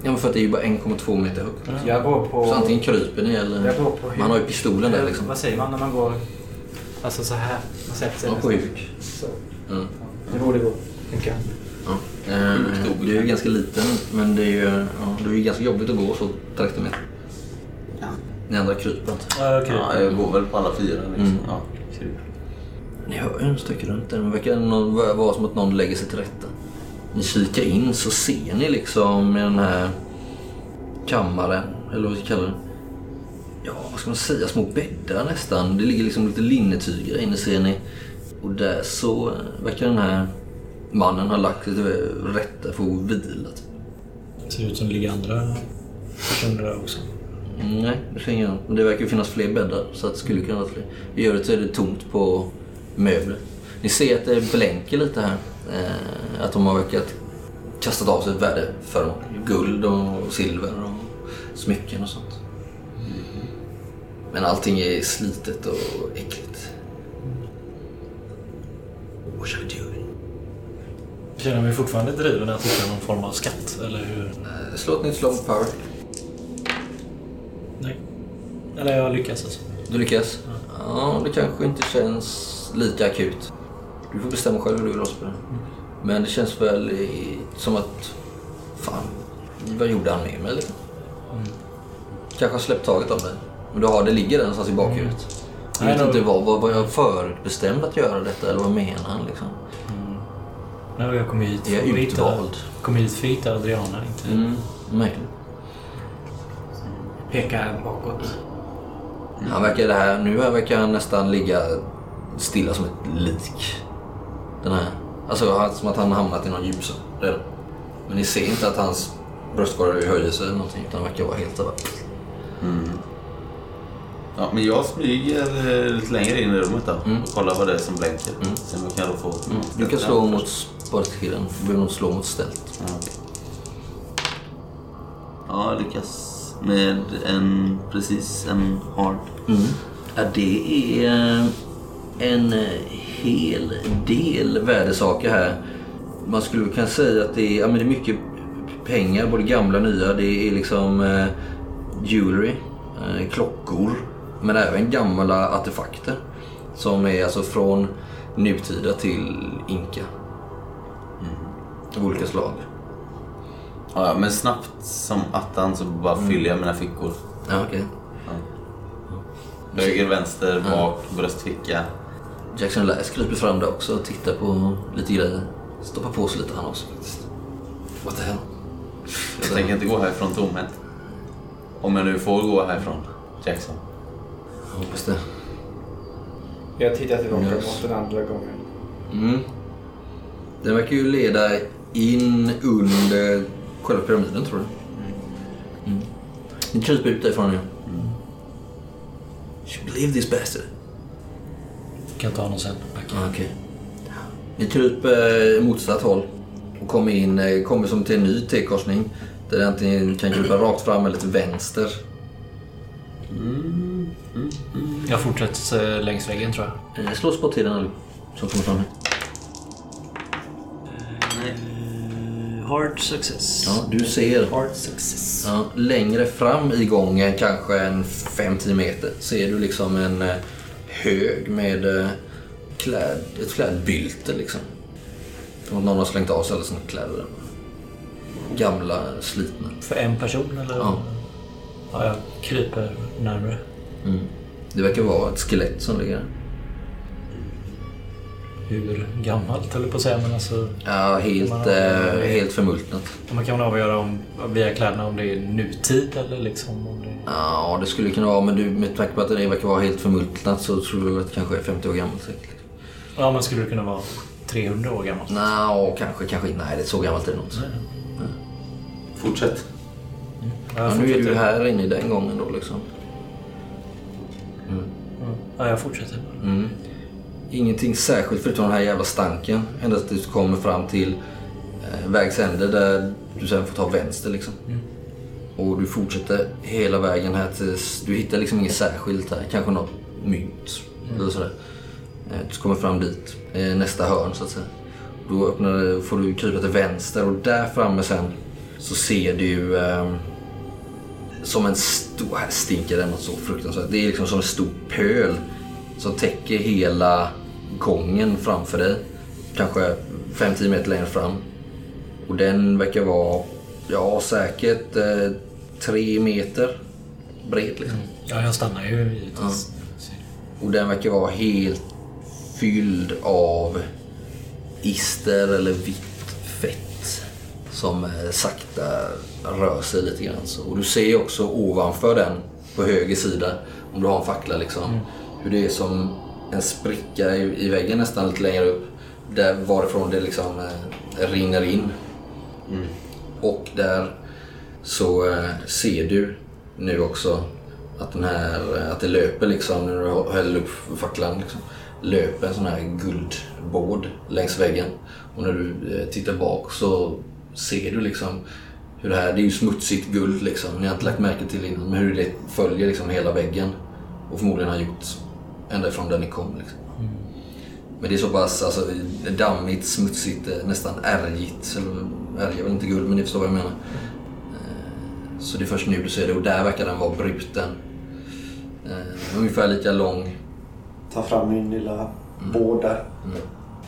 S1: Ja, men för att det är ju bara 1,2 meter högt.
S3: Mm.
S2: Jag går på...
S1: Så antingen kryper ni eller...
S2: Jag går på huk.
S1: Man har ju pistolen där
S2: Eller
S1: liksom.
S2: Vad säger man när man går... Alltså så här. Man sätter sig
S1: Ja, på huk.
S2: Så.
S1: Mm.
S2: Det borde gå. Tänker jag.
S1: Ja. Eh, Du är ju ganska liten, men det är ju ja, det är ju ganska jobbigt att gå så 30 meter. Ni andra kryper inte.
S7: Ah, Okej.
S3: Ja, jag går väl på alla fyra liksom.
S1: Mm.
S3: Ja, kul.
S1: Ni hör ju en stycke runt där. Det verkar någon- vara som att någon lägger sig till rätta. Ni kikar in så ser ni liksom i den här kammaren, eller vad vi kallar det. Ja, vad ska man säga? Små bäddar nästan. Det ligger liksom lite linnetyger där inne ser ni. Och där så eh, verkar den här mannen ha lagt sig till rätta för att vila. typ.
S4: Ser ut som det ligger andra personer där också.
S1: Mm, Nej, det ser ingen Men det verkar ju finnas fler bäddar så att det skulle kunna vara fler. I övrigt så är det tomt på möbler. Ni ser att det blänker lite här. Eh, att de har verkat kastat av sig värdeföremål. Guld och silver och smycken och sånt. Men allting är slitet och äckligt. What shall we do?
S4: Känner mig fortfarande driven att hitta någon form av skatt, eller hur?
S1: Eh, Slå ett nytt slag på power.
S4: Nej. Eller jag lyckas alltså.
S1: Du lyckas? Ja, det kanske inte känns lika akut. Du får bestämma själv hur du vill ha det. Men det känns väl i, som att... Fan, vad gjorde han med mig? Liksom?
S4: Mm.
S1: Kanske har släppt taget av mig. Men du har, det ligger där någonstans i bakhuvudet. Jag
S4: Mm. Nej,
S1: vet
S4: då-
S1: inte vad, vad, vad jag förutbestämd att göra detta eller vad menar han liksom?
S4: Nej, jag kom hit
S1: Jag är
S4: för att hitta-
S1: utvald.
S4: kom hit för att hitta Adriana, inte...
S1: Mm. Nej.
S2: Pekar bakåt.
S1: Han verkar det här, nu här verkar han nästan ligga stilla som ett lik. Den här. Alltså han- som att han har hamnat i någon djupsömn. redan. Men ni ser inte att hans bröstkorg höjer sig eller någonting utan verkar vara helt över.
S3: Ja, men jag smyger eh, lite längre in i rummet då
S1: Mm.
S3: och kollar vad det är som blänker. Se om jag kan då få...
S1: Du kan slå mot spartskillen. Du behöver nog slå mot ställt.
S3: Ja. Ja, jag lyckas med en... Precis, en hard.
S1: Ja, det är eh, en eh, hel del värdesaker här. Man skulle kunna säga att det är, ja, men det är mycket pengar, både gamla och nya. Det är liksom eh, jewelry, eh, klockor, men även gamla artefakter. Som är alltså från nutida till inka. Mm. Av olika slag.
S3: Ja, ja, men snabbt som attan så bara fyller jag mina fickor.
S1: Ja, okej.
S3: Höger, vänster, bak, bröstficka.
S1: Jackson Lass kryper fram där också och tittar på lite grejer. Stoppar på sig lite han också faktiskt. What the hell?
S3: Jag tänker inte gå härifrån tomhänt. Om jag nu får gå härifrån, Jackson.
S1: Jag hoppas det.
S2: Jag tittar tillbaka
S1: Yes.
S2: mot den andra gången.
S1: Mm. Den verkar ju leda in under själva pyramiden tror du. Mm. Ni kryper ut därifrån nu. Should believe this bastard.
S4: Kan ta honom sen. Tack.
S1: Ah, okej. Ni kryper eh, motsatt håll och kommer in, eh, kommer som till en ny T-korsning. Där ni antingen kan krypa rakt fram eller till vänster.
S4: Jag fortsätter eh, längs väggen tror jag.
S1: Eh, Slå spottiden allihop som kommer fram nu.
S4: Hard success.
S1: Ja, du ser.
S4: Hard success.
S1: Ja, längre fram i gången, kanske en 5-10 meter, ser du liksom en eh, hög med eh, kläd, ett klädbylte. Liksom. Som att någon har slängt av sig alla sina kläder. där. Gamla, slitna.
S4: För en person eller?
S1: Ja.
S4: ja jag kryper närmare.
S1: Mm. Det verkar vara ett skelett som ligger där.
S4: Hur gammalt höll jag på att säga men alltså.
S1: Ja, helt, eh, helt förmultnat.
S4: Man kan väl avgöra om, via kläderna om det är nutid eller liksom om det
S1: Ja, det skulle kunna vara, men du, med tanke på att det verkar vara helt förmultnat så tror du att det kanske är 50 år gammalt säkert.
S4: Ja men skulle det kunna vara 300 år gammalt?
S1: Nå, kanske, kanske inte. Nej, det är så gammalt är det nog inte.
S3: Fortsätt.
S4: Ja,
S1: Ja,
S4: jag
S1: nu är du
S4: fortsätter.
S1: här inne i den gången då liksom.
S4: Ja, jag fortsätter.
S1: Mm. Ingenting särskilt förutom den här jävla stanken. Ända tills du kommer fram till eh, vägs ände där du sen får ta vänster liksom. Och du fortsätter hela vägen här tills du hittar liksom inget särskilt här. Kanske något mynt eller sådär. Eh, Du kommer fram dit, eh, nästa hörn så att säga. Då öppnar, får du krypa till vänster och där framme sen så ser du ehm, som en stor... Här stinker det något så fruktansvärt. Det är liksom som en stor pöl som täcker hela gången framför dig. Kanske 5-10 meter längre fram. Och den verkar vara, ja säkert eh, 3 meter bred liksom.
S4: Ja, jag stannar ju givetvis.
S1: Och den verkar vara helt fylld av ister eller vitt fett som eh, sakta rör sig lite grann. Så. Och du ser också ovanför den, på höger sida, om du har en fackla liksom, hur det är som en spricka i, i väggen nästan lite längre upp. Där varifrån det liksom eh, rinner in. Och där så eh, ser du nu också att, den här, eh, att det löper liksom, när du häller upp facklan, liksom, löper en sån här guldbåd längs väggen. Och när du eh, tittar bak så ser du liksom hur det här, det är ju smutsigt guld liksom, ni har inte lagt märke till innan, men hur det följer liksom hela väggen. Och förmodligen har gjort ända från där ni kom. Liksom. Men det är så pass alltså, dammigt, smutsigt, eh, nästan ärgigt. Eller, Ärg är väl inte guld, men ni förstår vad jag menar. Eh, Så det är först nu du ser det och där verkar den vara bruten. Eh, Ungefär lika lång.
S5: Ta fram min lilla båd där.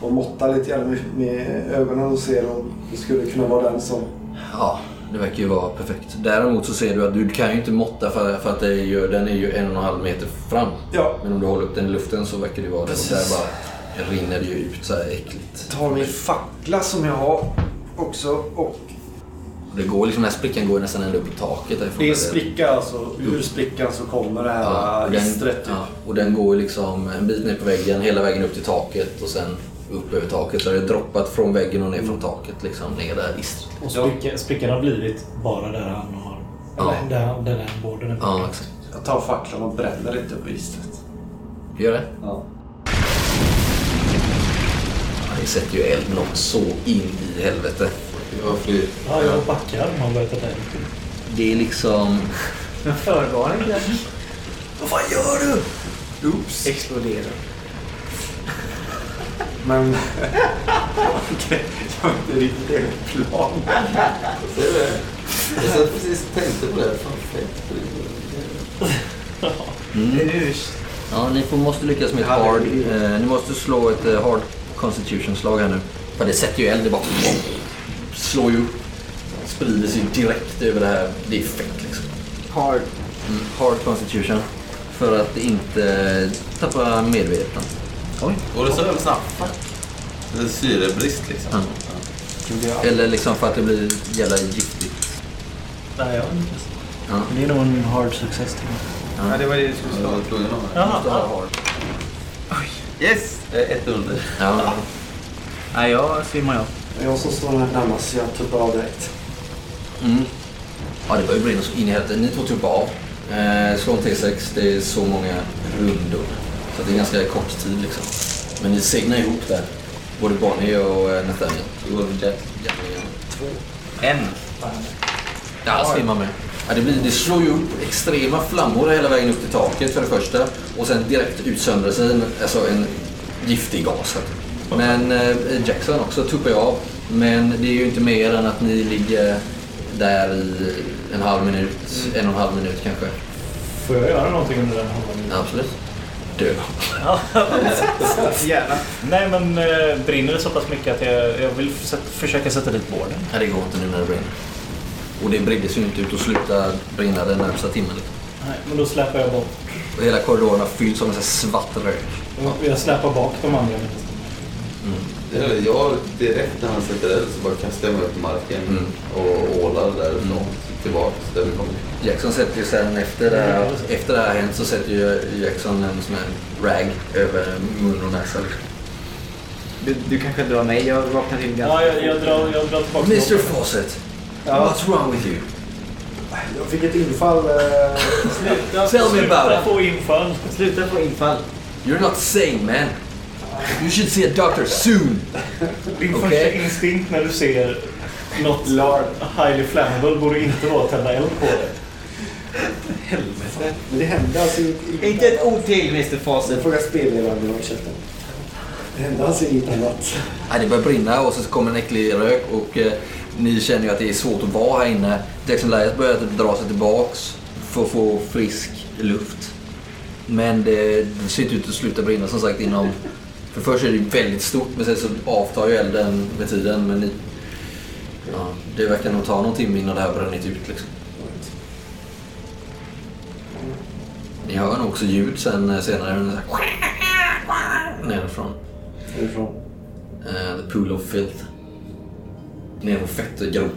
S5: Och måtta lite grann med, med ögonen och se om det skulle kunna vara den som...
S1: Ja, det verkar ju vara perfekt. Däremot så ser du att du kan ju inte måtta för, för att det är ju, den är ju en och en halv meter fram.
S5: Ja.
S1: Men om du håller upp den i luften så verkar det vara det. Och där
S5: Precis.
S1: bara rinner det ju ut så här äckligt.
S5: Ta min fackla som jag har också och...
S1: Och Det går liksom, den här sprickan går ju nästan ända upp i taket. därifrån.
S5: Det är en spricka alltså. Ur sprickan så kommer det
S1: Ja,
S5: här
S1: och den-
S5: istret. typ.
S1: ja, och den går ju liksom en bit ner på väggen, hela vägen upp till taket och sen upp över taket. Så det har droppat från väggen och ner från taket liksom ner där istret.
S7: Och spricka, sprickan har blivit bara där han har...
S1: Ja.
S7: Eller där, där den borden är
S1: Ja, exakt.
S5: Jag tar facklan och bränner lite på istret.
S1: Du gör det?
S5: Ja.
S1: Ja, Ni sätter ju eld något så in i helvete.
S3: Jag flyr.
S7: Ja, jag backar om han börjar ta tag
S1: Det är liksom...
S2: Men förvarning kanske?
S1: Vad fan gör du?
S3: Oops!
S2: Explodera.
S5: Men... jag har inte riktigt egen plan.
S3: Ser du det? Jag satt precis och tänkte på det. Fan, fett.
S2: Det är nu
S1: Ja, ni får, måste lyckas med ett hard... Eh, ni måste slå ett eh, hard constitution-slag här nu. För det sätter ju eld, det bara... Slår ju upp. Sprider sig direkt över det här. Det är fett liksom.
S2: hard.
S1: Mm, hard constitution. För att inte eh, tappa medvetandet. Oj.
S3: Går det så jävla snabbt? Det är syrebrist liksom.
S1: Ja. Eller liksom för att det blir jävla giftigt.
S7: Nej, jag lyckas.
S1: Ja.
S4: Det är nog en hard success till.
S2: Ja, det var det du skulle
S3: Jag
S2: slå.
S3: var tvungen att ha
S1: Måste
S7: Jaha,
S1: ha hard.
S3: det. Yes! Jag är ett under.
S1: Ja.
S4: Nej, jag svimmar jag.
S5: Jag som står här närmast, så jag tuppar av direkt.
S1: Mm. Ja, det börjar bli något så in i helvete. Ni två tuppar av. Eh, slå en T6, det är så många rundor. Så det är ganska kort tid liksom. Men ni segnar ihop där. Både Bonnie och eh, Nathaniel. Det går det Två.
S2: En.
S1: Ja, svimmar med. Ja, det, blir, det slår ju upp extrema flammor hela vägen upp till taket för det första. Och sen direkt utsöndrar sig en, alltså en giftig gas. Men eh, Jackson också tuppar ju av. Men det är ju inte mer än att ni ligger där i en halv minut, en och en halv minut kanske.
S7: får jag göra någonting under den halvan minuten?
S1: Ja, absolut. Dö.
S2: Gärna.
S4: Nej, men eh, brinner det så pass mycket att jag, jag vill sätt, försöka sätta dit borden.
S1: Ja, det går inte nu när det brinner. Och det bredde sig ju inte ut och slutade brinna den närmsta timmen. Liksom.
S7: Nej, men då släpar jag bort.
S1: Och hela korridoren har fyllts av en sån här svart rök.
S7: Jag släpar bak de andra.
S3: Det är väl jag direkt när han sätter eld så bara kastar jag mig upp på marken
S1: Mm.
S3: och ålar därifrån tillbaks där vi kom.
S1: Jackson sätter ju sen efter det här, efter det här har hänt så sätter ju Jackson en sån här rag över mun och näsa.
S2: Du, du kanske drar mig. Jag vaknar till ganska
S7: Ja, jag, jag, drar, jag drar tillbaka
S1: Mr
S7: borden.
S1: Fawcett,
S5: Ja.
S1: what's wrong with you?
S5: Jag fick ett infall. Eh,
S7: Sluta,
S1: Tell me about
S7: sluta
S1: it.
S7: få infall.
S2: Sluta få infall.
S1: You're not sane man. You should see a doctor soon.
S7: Din
S1: Okej.
S7: första instinkt när du ser något
S5: Lard.
S7: highly flammable borde inte vara att tända eld på det. Helvete.
S5: Men det hände alltså inte...
S2: Inte ett ord till Mr
S5: Jag
S2: Fawcett.
S5: frågar spelledaren om ursäkta. Det hände alltså inget annat.
S1: Nej, det börjar brinna och så kommer en äcklig rök och eh, ni känner ju att det är svårt att vara här inne. Jackson Elias börjar typ dra sig tillbaks för att få frisk luft. Men det, det ser inte ut att sluta brinna som sagt inom... För först är det ju väldigt stort men sen så avtar ju elden med tiden. Men ni, ja, det verkar nog ta någon timme innan det här brunnit ut liksom. Ni hör nog också ljud sen eh, senare. Så här, nerifrån.
S5: Härifrån.
S1: Eh, The Pool of Filth. Ner på fettgropen.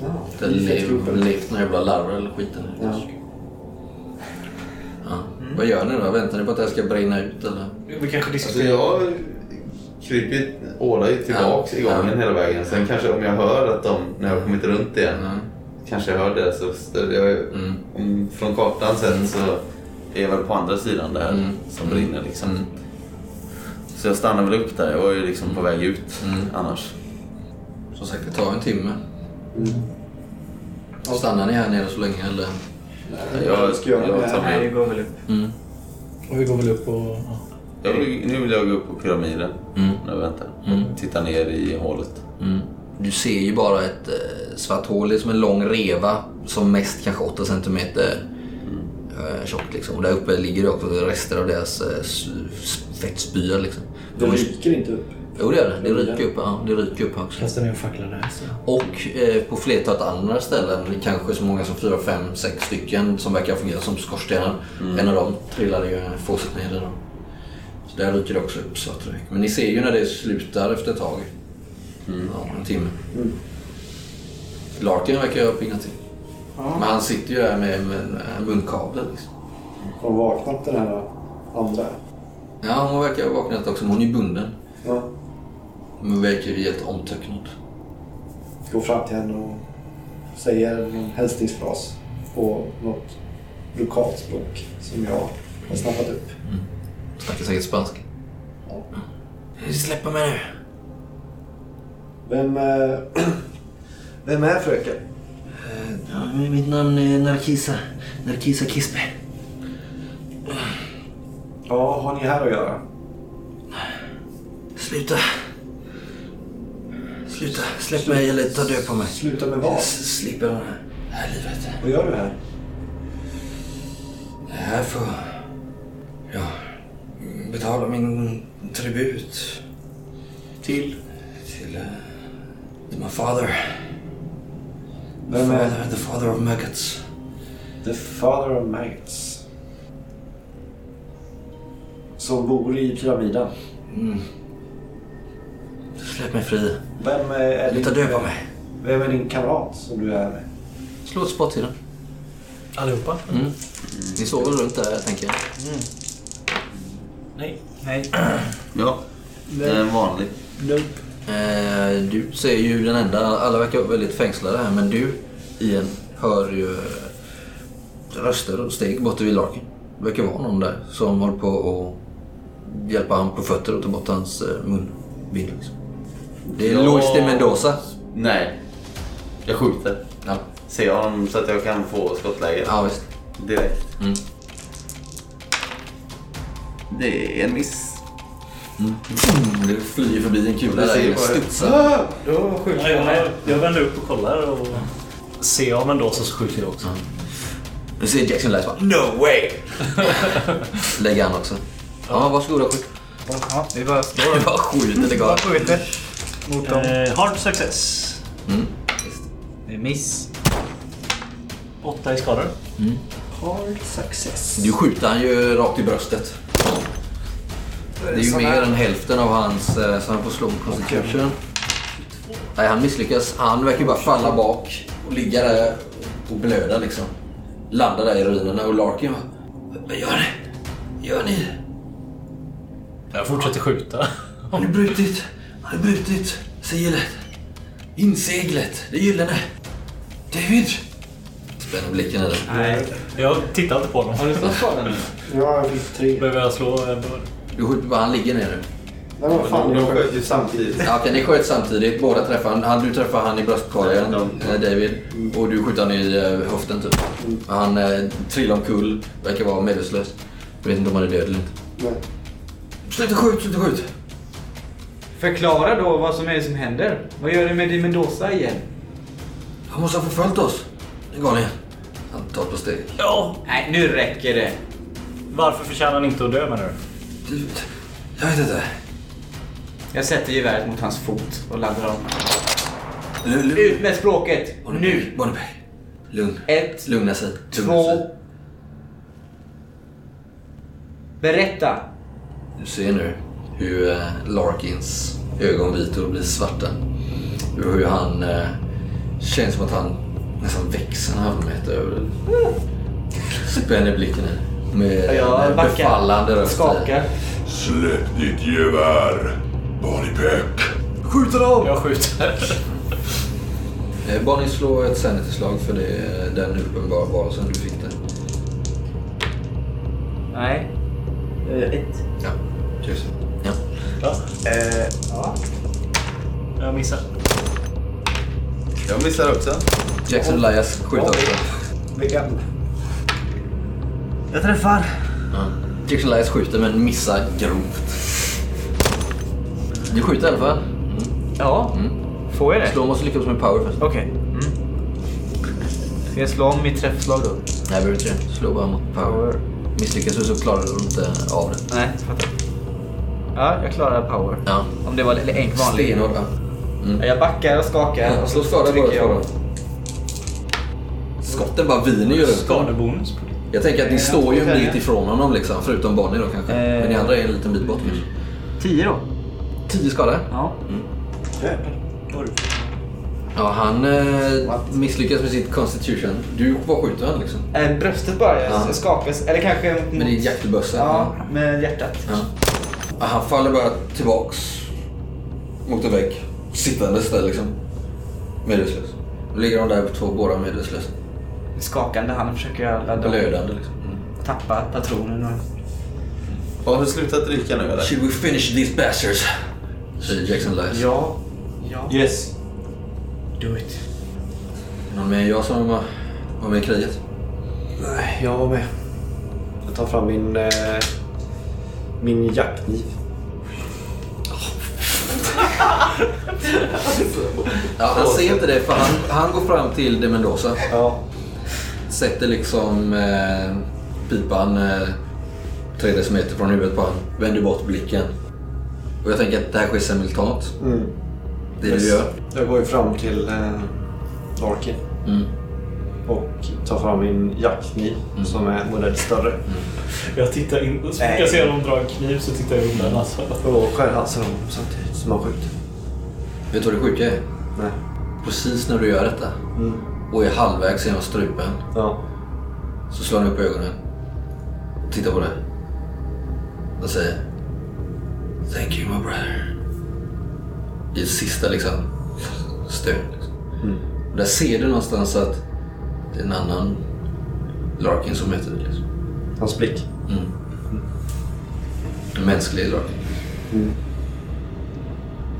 S5: Ja,
S1: Där
S5: i
S1: le-
S5: fettgropen.
S1: levt några jävla larver eller skiten.
S5: Ja.
S1: Ja. Vad gör ni då? Väntar ni på att det här ska brinna ut eller?
S7: Vi kanske
S3: Alltså
S7: diskuterar.
S3: jag kryper ju, ålar ju tillbaks
S1: Ja.
S3: i gången
S1: Ja.
S3: hela vägen. Sen kanske om jag hör att de, när jag har kommit runt igen,
S1: Mm.
S3: kanske jag hör deras röster. Jag,
S1: Mm.
S3: om, från kartan sett så är jag väl på andra sidan där
S1: Mm.
S3: som brinner liksom.
S1: Mm.
S3: Så jag stannar väl upp där. Jag är ju liksom på väg ut
S1: Mm.
S3: annars.
S1: Som sagt, det tar en timme.
S5: Mm.
S1: Stannar ni här nere så länge eller?
S3: Jag,
S5: Ska göra det
S3: jag,
S5: här.
S3: tar
S2: Nej,
S3: mig
S2: det
S3: upp.
S2: går väl upp.
S1: Mm.
S7: Och vi går väl upp och... Ja.
S3: jag vill, Nu vill jag gå upp på pyramiden
S1: Mm.
S3: när jag väntar.
S1: Mm.
S3: Titta ner i hålet.
S1: Mm. Du ser ju bara ett eh, svart hål. Det är som en lång reva. Som mest kanske 8 centimeter eh, tjockt liksom. Och där uppe ligger det också rester av deras eh, s- s- fettspyor liksom.
S5: Det ryker inte upp.
S1: Jo det gör det. Det ryker upp, ja, det ryker upp också.
S7: Kastar ner facklan där. Så.
S1: Och eh, på flertalet andra ställen, kanske så många som fyra, fem, sex stycken som verkar fungera som skorstenar. En av dem trillade ju fåset ner i dem. Så där ryker det också upp svart rök. Men ni ser ju när det slutar efter ett tag. Ja, en timme.
S5: Mm.
S1: Larkin verkar ju ha pignat till. Men han sitter ju där med, med, med munkabeln. Liksom.
S5: Har de vaknat den här andra?
S1: Ja, hon verkar ha vaknat också, men hon är ju bunden.
S5: Ja.
S1: Men verkar helt omtöcknad.
S5: Går fram till henne och säger en hälsningsfras på något lokalt språk som jag har snappat upp.
S1: Snackar säkert spanska.
S5: Ja.
S1: Släppa mig nu.
S5: Vem, eh, vem är fröken?
S1: mitt namn är Narkisa. Narkisa Kispe.
S5: Ja, har ni här att göra?
S1: Sluta. Sluta. Släpp mig eller ta död på mig.
S5: Sluta med vad?
S1: Slipper det här, här livet.
S5: Vad gör du här?
S1: Det här får... Ja, betala min tribut. Till? Till... eh, Till my father.
S5: Vem är
S1: father the father of maggots.
S5: The Father of Maggots? Som bor i pyramiden.
S1: Släpp mig fri.
S5: Vem är, är
S1: Eller ta död på mig.
S5: vem är din kamrat som du är med?
S1: Slå ett Mm. spott i den.
S8: Allihopa?
S1: Ni såg väl runt där, tänker jag.
S8: Nej.
S7: Nej.
S3: Ja, det är en vanlig.
S1: Eh, du ser ju den enda, alla verkar vara väldigt fängslade här, men du Ian hör ju eh, röster och steg borta vid laken. Det verkar vara någon där som håller på att hjälpa honom på fötter och ta bort hans eh, munbindel. Liksom. Det är
S3: Ja.
S1: Lois de Mendoza.
S3: Nej, jag skjuter.
S1: Ja,
S3: Ser jag honom så att jag kan få skottläge
S1: ja visst.
S3: direkt.
S1: Mm.
S3: Det är en miss.
S1: Du flyger Mm, förbi en kula
S3: där inne,
S1: studsar.
S3: Ah!
S7: Då skjuter
S4: Ja,
S7: jag mig.
S4: jag, jag vänder upp och kollar och ser jag Mendoza så skjuter jag också.
S1: Du ser Jackson Lights bara No way! Lägger han också. Ja, varsågoda skjut.
S7: Ja, vi bara Mm.
S1: Det bara skjuter, det går.
S7: Jag skjuter mot dem.
S4: Eh, hard success.
S7: Det är miss.
S4: Åtta i skador.
S5: Hard success.
S1: Du skjuter han ju rakt i bröstet. Det är ju
S5: Sån
S1: mer
S5: här-
S1: än hälften av hans, eh, så han får slå en constitution. Nej, han misslyckas. Han verkar ju bara falla bak och ligga där och blöda liksom. Landar där i ruinerna och Larkin bara, Vad gör ni? Gör ni?
S8: Jag fortsätter skjuta.
S1: Har ni brutit? Har ni brutit sigillet? Inseglet? Det gyllene? David? Spänner blicken i dig.
S7: Nej.
S4: Jag tittar inte på
S7: Har
S4: honom.
S7: du fått skada nu?
S5: Ja, jag fick tre.
S4: Behöver jag slå? eh, på-
S1: Du skjuter bara, han ligger ner nu.
S5: Nej, vad fan.
S3: De
S5: jag sköt.
S3: sköt ju samtidigt.
S1: Ja, Okej, ni sköt samtidigt. Båda träffar han. han. Du träffar han i bröstkorgen,
S3: Ja.
S1: eh, David. Och du skjuter han i eh, höften typ. Han eh, trillar omkull, verkar vara medvetslös. Jag vet inte om han är död eller inte.
S5: Nej.
S1: Sluta skjut, sluta skjut!
S7: Förklara då vad som är det som händer. Vad gör du med din Mendoza igen?
S1: Han måste ha förföljt oss. Det går ni. Han tar på steg.
S4: Ja!
S7: Nej, nu räcker det.
S4: Varför förtjänar han inte att dö menar du?
S1: Du, jag vet inte.
S7: Jag sätter geväret mot hans fot och laddar om.
S1: Lu- lu-
S7: Ut med språket! Nu!
S1: Bonneby. Lugn.
S7: Ett,
S1: Lugna sig. Lugna
S7: två...
S1: sig.
S7: Berätta!
S1: Du ser nu hur eh, Larkins ögonvitor blir svarta. Och hur han... Eh, känns som att han nästan växer en halv meter över dig. Spänner blicken i. Med
S7: Jag
S1: en
S7: backar.
S1: befallande röst. i.
S7: Skakar.
S9: Släpp ditt gevär, Bonnypeck.
S1: Skjuter av!
S4: Jag skjuter.
S1: Eh, Bonnie slår ett sanity-slag för det är den uppenbara varelsen du fick där.
S7: Nej. Eh, Ett.
S1: Ja, tusen. Ja.
S4: Ja,
S5: Eh,
S4: jag missar.
S3: Jag missar också.
S1: Jackson Elias skjuter också.
S5: vilken?
S7: Jag träffar.
S1: Jackson Elias skjuter men missar grovt. Du skjuter i alla fall. Mm.
S7: Ja. Får jag det?
S1: Slå måste lyckas med power först.
S7: Okej. Mm. Ska jag slå om mitt träffslag då?
S1: Nej, behöver inte det. Slå bara mot power. Misslyckas du så klarar du inte av det.
S7: Nej, fattar. Ja, jag klarar power.
S1: Ja.
S7: Om det var eller en vanlig.
S1: Stenhård, va?
S7: Ja, Jag backar och skakar och
S1: Slå
S7: så
S1: skada båda
S7: trycker jag.
S1: två. Skotten bara viner ju runt om.
S4: Skadebonus på det.
S1: Jag tänker att ni
S7: Eh,
S1: står ju en
S7: okej.
S1: bit ifrån honom liksom. Förutom Bonnie då kanske.
S7: Eh.
S1: Men ni andra är en liten bit bort kanske.
S7: Tio då?
S1: Tio skada.
S7: Ja.
S1: Ja, han eh, misslyckas med sitt constitution. Du bara skjuter han liksom.
S7: Eh, Bröstet bara jag
S1: Ja.
S7: skakas. Eller kanske... mot-
S1: Med din jaktbössa.
S7: Ja, med hjärtat.
S1: Ja. Ja, Han faller bara tillbaks. mot en vägg. Sittandes där liksom. Medvetslös. Då ligger de där två, båda medvetslösa.
S2: Med skakande hand försöker jag ladda
S1: Blödande liksom. Mm.
S2: Tappa patronen och...
S3: Har du slutat dricka nu eller?
S1: Should we finish these bastards? Säger Jackson Lives.
S2: Ja. Ja.
S3: Yes.
S2: Do it.
S1: Någon mer än jag som var var med i kriget?
S5: Nej, jag var med. Jag tar fram min, eh, min jackkniv.
S1: Ja, han ser inte det för han, han går fram till de Mendoza.
S5: Ja.
S1: Sätter liksom eh, pipan eh, tre decimeter från huvudet på honom. Vänder bort blicken. Och jag tänker att det här sker simultant.
S5: Mm.
S1: Det du gör.
S5: Jag går ju fram till eh, Larkin
S1: Mm.
S5: och tar fram min jackkniv som är en modell större.
S7: Jag tittar in och så fort jag ser dem dra en kniv så tittar jag undan. Alltså.
S4: Mm.
S5: Och skär halsen av honom samtidigt som han skjuter.
S1: Vet du vad det sjuka är?
S5: Nej.
S1: Precis när du gör detta
S5: Mm.
S1: och är halvvägs genom strupen
S5: Ja.
S1: så slår han upp ögonen. Och tittar på dig. Och säger Thank you my brother. I ett sista liksom stöd. Liksom. Och där ser du någonstans att det är en annan Larkin som heter det. Liksom.
S5: Hans blick.
S1: En mänsklig Larkin.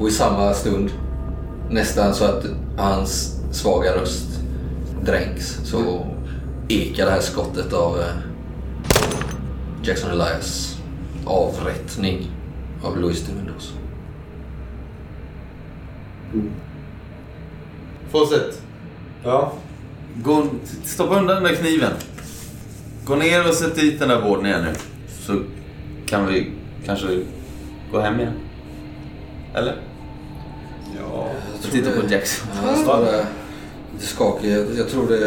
S1: Och i samma stund nästan så att hans svaga röst dränks så ekar det här skottet av eh, Jackson Elias avrättning av Louis de Mendoza.
S3: Fortsätt.
S5: Ja.
S3: Gå, stoppa undan den där kniven. Gå ner och sätt dit den där vården igen nu. Så kan vi kanske gå hem igen. Eller?
S5: Ja.
S3: Jag tittar på Jackson.
S1: Ja, Han står där lite skakig. Jag, jag tror det...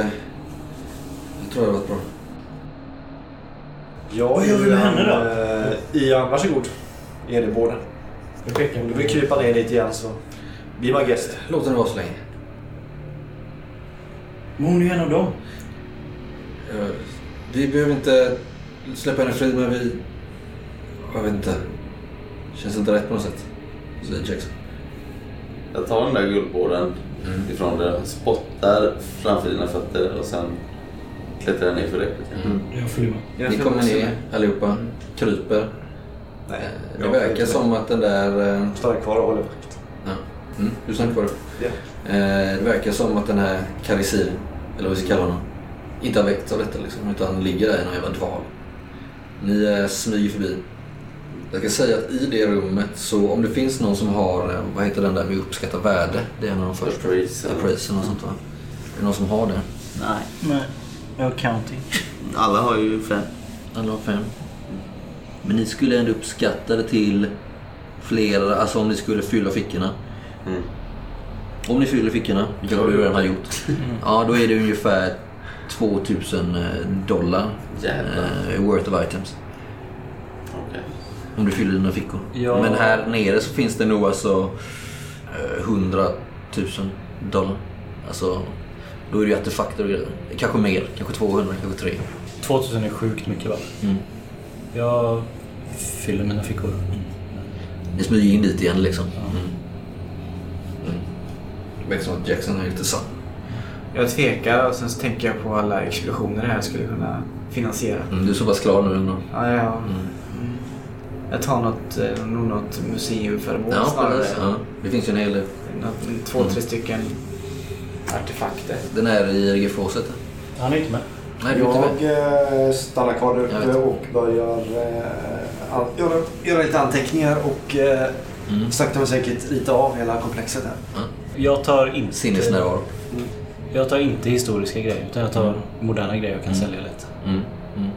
S1: Jag tror det har varit bra.
S5: Vad
S7: gör vi med henne då?
S5: eh, Ian, varsågod. Ge dig båda.
S7: Jag pekar
S5: Om du
S7: på
S5: vill krypa ner dit igen så bli my guest.
S1: Låt den vara så länge.
S7: Men hon är ju en av dem.
S1: Eh, Vi behöver inte släppa henne fri, men vi... Jag vet inte. Känns inte rätt på något sätt. Säger Jackson.
S3: Jag tar den där guldbåden ifrån dig, spottar framför dina fötter och sen klättrar jag ner för repet.
S7: Jag följer med.
S1: Ni kommer ner allihopa, kryper.
S5: Nej.
S1: Eh, Det
S5: jag får
S1: verkar
S5: inte
S1: som att den där... eh,
S5: Stanna kvar och hålla vakt.
S1: Ja. Mm, du stannar kvar.
S5: Ja.
S1: Eh, det verkar som att den här Karisin, eller vad vi ska kalla honom, inte har väckts av detta liksom, utan ligger där i någon jävla dval. Ni eh, smyger förbi. Jag kan säga att i det rummet, så om det finns någon som har, eh, vad heter den där med uppskatta värde? Det är en av de första.
S3: Appraise.
S1: Appraise eller något sånt va? Är det någon som har det?
S3: Nej.
S2: Nej. Jag counting.
S3: Alla har ju fem.
S1: Alla har fem. Men ni skulle ändå uppskatta det till flera, alltså om ni skulle fylla fickorna.
S3: Mm.
S1: Om ni fyller fickorna, vilket du redan har gjort, ja, då är det ungefär 2000 eh, dollar
S3: Jävlar.
S1: eh, worth of items.
S3: Okej.
S1: Om du fyller dina fickor.
S2: Ja.
S1: Men här nere så finns det nog alltså eh, 100 000 dollar. Alltså, då är det ju artefakter och grejer. Kanske mer, kanske 200, kanske 300.
S4: 2000 är sjukt mycket va?
S1: Mm.
S4: Jag fyller mina fickor.
S1: Ni smyger in dit igen liksom. Mm. Mm. Det verkar som att Jackson har gjort detsamma.
S2: Jag tvekar och sen så tänker jag på alla explosioner det här skulle kunna finansiera.
S1: Mm, du är så pass klar nu ändå.
S2: Ja, ja. Mm. Jag tar något, eh, nog något museumföremål
S1: Ja,
S2: snarare.
S1: precis. Ja. Det finns ju en hel del.
S2: Något, mm, två,
S7: Mm.
S2: tre stycken artefakter.
S1: Den här i RG-fåset.
S7: Han är inte med.
S1: Nej, du är inte med.
S10: Jag eh, stannar kvar där
S1: Jag
S10: uppe
S1: vet.
S10: och börjar eh, an- göra, göra lite anteckningar och eh,
S1: Mm.
S10: sakta men säkert rita av hela komplexet här.
S4: Jag tar inte...
S1: Sinnesnärvaro.
S4: Jag tar inte historiska grejer utan jag tar moderna grejer jag kan sälja lite.
S1: Mm. Mm.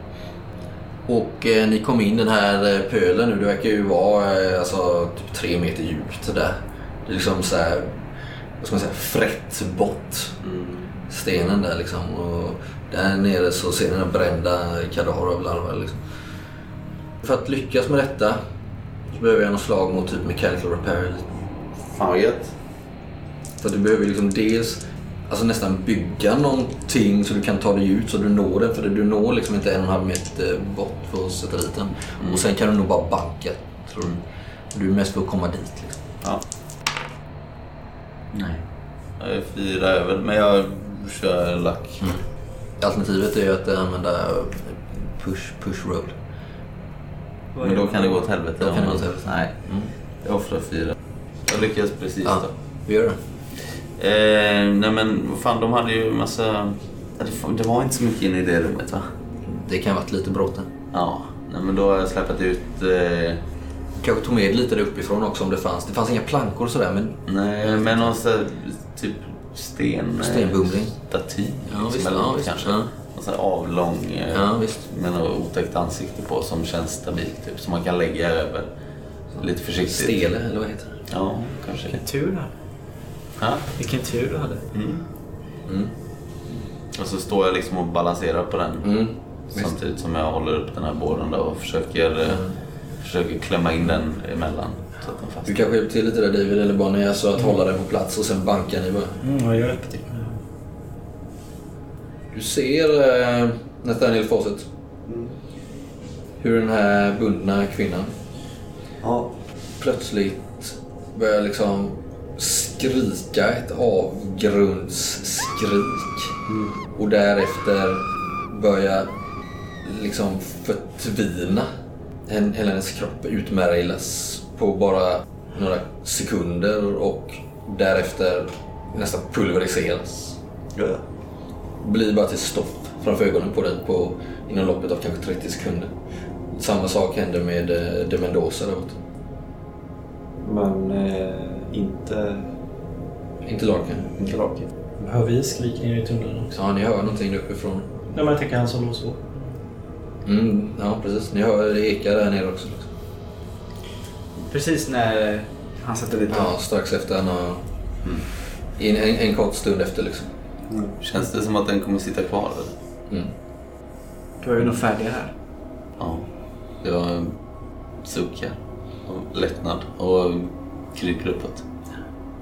S1: Och eh, ni kom in den här eh, pölen nu. Det verkar ju vara eh, alltså, typ tre meter djupt där. Det är liksom så här, vad ska man säga, frättbott. Stenen där liksom. Och där nere så ser ni den brända kadaver av larver liksom. För att lyckas med detta så behöver jag något slag mot typ mechanical repair. eller
S3: Fan vad gött.
S1: För du behöver liksom dels alltså nästan bygga någonting så du kan ta dig ut så du når den. För du når liksom inte en och en halv meter bort för att sätta dit den. Och sen kan du nog bara backa tror du. Du är mest för att komma dit. Liksom.
S3: Ja. Nej. Jag är fyra över, men jag kör lack.
S1: Alternativet är ju att använda push, push roll.
S3: Men då kan det gå åt helvete.
S1: Då kan
S3: om
S1: det
S3: man-
S1: gå åt helvete.
S3: Nej, jag offrar fyra. Mm. Jag lyckades precis
S1: Ja.
S3: då.
S1: Vi gör det.
S3: Eh, nej men vad fan, de hade ju massa... Det f- Det var inte så mycket inne i det rummet va?
S1: Det kan ha varit lite bråte.
S3: Ja, nej men då har jag släpat ut... Eh,
S1: Kanske tog med lite där uppifrån också om det fanns. Det fanns inga plankor och sådär men
S3: nej, men någon sån här, typ sten... eh,
S1: Stenbumling.
S3: Staty.
S1: Ja,
S3: liksom,
S1: visst,
S3: eller
S1: ja,
S3: något
S1: visst,
S3: kanske.
S1: ja.
S3: Någon sån här avlång... Eh,
S1: ja visst.
S3: Med något otäckt ansikte på som känns stabilt. Typ, som man kan lägga över. Lite försiktigt.
S1: Stele eller vad heter det?
S3: Ja, kanske.
S7: Vilken tur du hade.
S3: Ja. Mm.
S7: Vilken tur du hade.
S3: Och så står jag liksom och balanserar på den.
S1: Mm.
S3: Samtidigt som jag håller upp den här båren då och försöker, eh, försöker klämma in den emellan. Så att den
S1: Du
S3: fastnar.
S1: kanske hjälper till lite där David eller Bonnie, alltså att hålla den på plats och sen bankar ni bara.
S4: Mm, jag hjälper till.
S1: Du ser eh, Nathaniel Fawcett.
S4: Mm.
S1: Hur den här bundna kvinnan
S5: Ja,
S1: plötsligt börjar liksom skrika ett avgrundsskrik. Och därefter börjar liksom förtvina. Hen- Hela hennes kropp utmärglas på bara några sekunder och därefter nästan pulveriseras
S5: ja.
S1: blir bara till stoff framför ögonen på dig på, inom loppet av kanske 30 sekunder. Samma sak händer med eh, de Mendoza där borta.
S5: Men eh, inte,
S1: Inte Larkin.
S5: inte Larkin.
S4: Hör vi skrik nere i tunneln också?
S1: Ja, ni hör någonting där uppifrån.
S4: Nej, men jag tänker han som låg så.
S1: Mm, ja, precis. Ni hör det ekar där nere också. Liksom.
S7: Precis när eh, han satte dit
S1: Ja, strax efter han har... In, en, en kort stund efter liksom.
S3: Känns det som att den kommer sitta kvar? Eller?
S1: Mm.
S7: Då är vi nog färdiga här.
S3: Ja. Jag suckar av lättnad och kryper uppåt.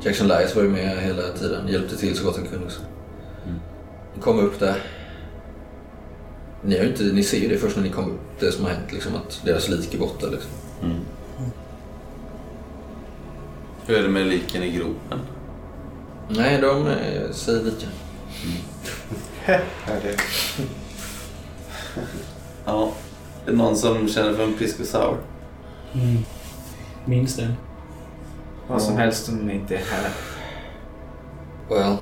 S1: Jackson Lyles var ju med hela tiden. Hjälpte till så gott han kunde också. Ni kom upp där. Ni, har ju inte, ni ser ju det först när ni kom upp, det som har hänt. Liksom, att deras lik är borta. Liksom.
S3: Mm. Hur är det med liken i gropen?
S1: Nej, de eh, säger lika.
S5: Är det?
S3: Ja. Är det någon som känner för en pisco sour?
S4: Mm. Minns den.
S7: Vad som helst som inte är här.
S1: Well,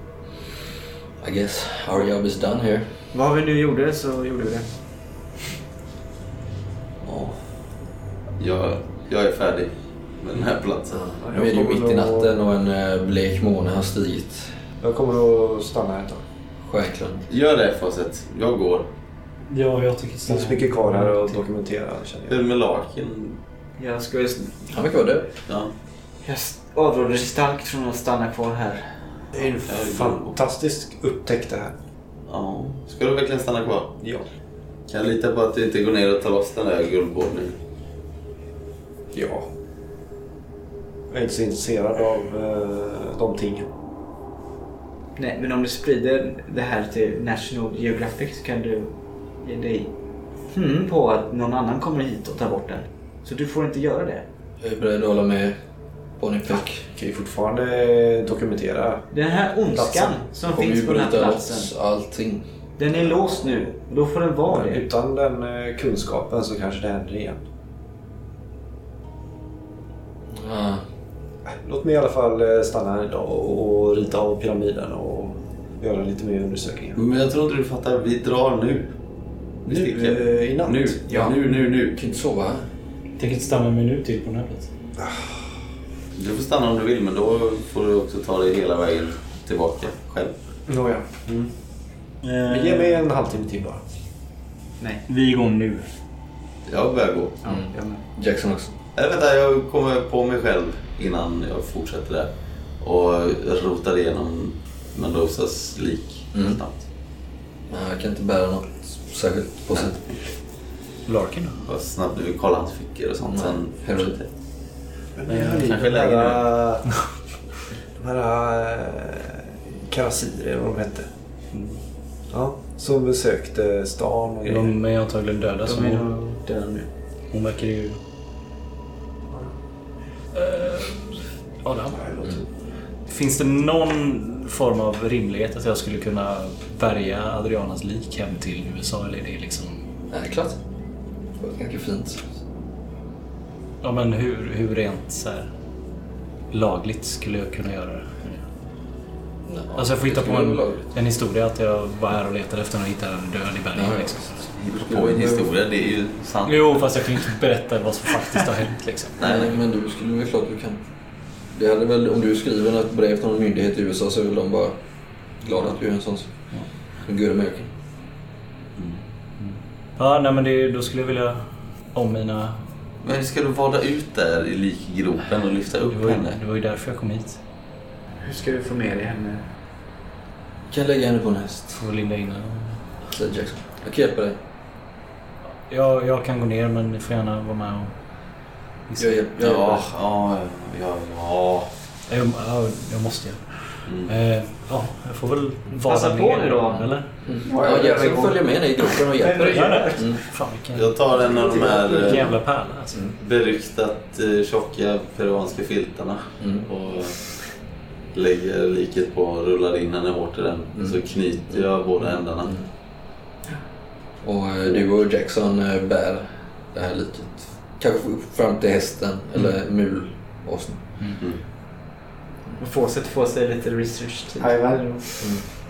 S1: I guess our job is done here.
S7: Vad vi nu gjorde så gjorde vi det.
S3: Ja. Jag, jag är färdig med den här platsen.
S1: Nu är det ju mitt i natten och en eh, blek måne har stigit.
S5: Jag kommer att stanna här ett tag.
S1: Stjärnklund.
S3: Gör det Fawcett. Jag går.
S4: Ja, jag tycker
S5: Det finns
S4: stanna.
S5: mycket kvar här att dokumentera känner
S3: Hur
S5: jag.
S3: är det med Larkin?
S7: Jag, ska,
S1: Han verkar vara död.
S3: Ja.
S7: jag avråder starkt från att stanna kvar här.
S5: Det är en fantastisk upptäckt det här.
S3: ja. Ska du verkligen stanna kvar?
S5: Ja.
S3: Kan jag lita på att du inte går ner och tar loss den där guldborden?
S5: Ja. Jag är inte så intresserad av eh, de tingen.
S7: Nej, men om du sprider det här till National Geographic så kan du ge dig hmm på att någon annan kommer hit och tar bort den. Så du får inte göra det.
S1: Jag är beredd att hålla med Bonnie Peck.
S5: Jag kan ju fortfarande eh, dokumentera.
S7: Den här ondskan
S5: Platsen
S7: som
S1: Kommer
S7: finns
S1: ju
S7: på den här
S1: bryta
S7: platsen.
S1: loss allting.
S7: Den är låst nu. och Då får den vara det.
S5: Utan den eh, kunskapen så kanske det händer igen.
S1: Ah,
S5: Låt mig i alla fall eh, stanna här idag och, och rita av pyramiden och göra lite mer undersökningar.
S3: Men jag tror inte du fattar. Vi drar nu. Vi sticker.
S5: Nu, eh, i natt.
S3: Nu.
S1: Ja.
S3: Nu, nu, nu.
S1: du kan inte sova här.
S4: Tänker inte stanna en minut till på den här platsen.
S3: Du får stanna om du vill men då får du också ta dig hela vägen tillbaka själv.
S5: Nåja. Mm. Men Ge mig en halvtimme till bara.
S4: Vi är igång nu.
S3: Jag börjar gå.
S1: Jackson också.
S3: Eller vänta, jag kommer på mig själv innan jag fortsätter där. Och rotar igenom Mendozas lik
S1: Mm.
S3: snabbt.
S1: Nej, jag kan inte bära något särskilt på sig.
S11: Larkin då?
S3: Vad snabbt du vill kolla hans fickor och sånt. Sen
S1: Mm.
S3: fortsätter
S5: Kanske
S3: kanske lägger
S5: De här eh, karasir, eller vad de hette. Ja, som besökte stan och grejer.
S11: De är antagligen döda. så
S7: De är
S11: hon,
S7: nog döda nu.
S11: hon verkar ju... Uh, Adam?
S4: Eh, Finns det någon form av rimlighet att jag skulle kunna bärga Adrianas lik hem till USA? Eller är det liksom...
S1: Nej, klart. Det var ganska fint.
S4: Ja, men hur, hur rent så här, lagligt skulle jag kunna göra det? Alltså jag får hitta på en, en historia att jag var här och letade efter någon och hittade en död i bergen.
S1: Ja, ja.
S4: liksom.
S3: Hitta på en historia, det är ju sant.
S4: Jo, fast jag kan ju inte berätta vad som faktiskt har hänt. Liksom.
S1: Nej, nej, men du skulle väl klart du kan. Det hade väl, om du skriver ett brev till någon myndighet i USA så är väl de bara glada att du är en sån som som good American.
S4: Ja, nej, men det, då skulle jag vilja om mina...
S3: Men ska du vada ut där i likgropen och lyfta
S4: Det
S3: upp
S4: var, ju,
S3: henne?
S4: det var ju därför jag kom hit.
S2: Hur ska du få med dig henne?
S1: Du kan lägga henne på en häst,
S4: Får väl linda in henne.
S1: säger Jackson. Jag kan hjälpa dig.
S4: Jag, jag kan gå ner men ni får gärna vara med och...
S1: Jag hjälper, jag hjälper
S3: Ja,
S1: dig.
S3: ja, ja, ja.
S4: Jag, ja, jag måste ju.
S3: Mm.
S4: Eh, ja, jag får väl vara
S2: Passa på nu då.
S4: Eller?
S1: Ja, Jackson följer med dig i gropen och hjälper dig.
S4: Gör det.
S1: Mm.
S4: Fan vilken,
S3: Jag tar en av de här
S4: vilken
S3: eh,
S4: jävla pärla alltså.
S3: beryktat eh, tjocka peruanska filtarna
S1: Mm.
S3: och lägger liket på och rullar in henne hårt i den.
S1: Mm.
S3: Så knyter jag båda ändarna.
S1: Mm. Och eh, du och Jackson eh, bär det här liket. Kanske upp fram till hästen eller mulåsen.
S2: Och Fawcett får sig lite research typ. tid.
S12: Jajamän.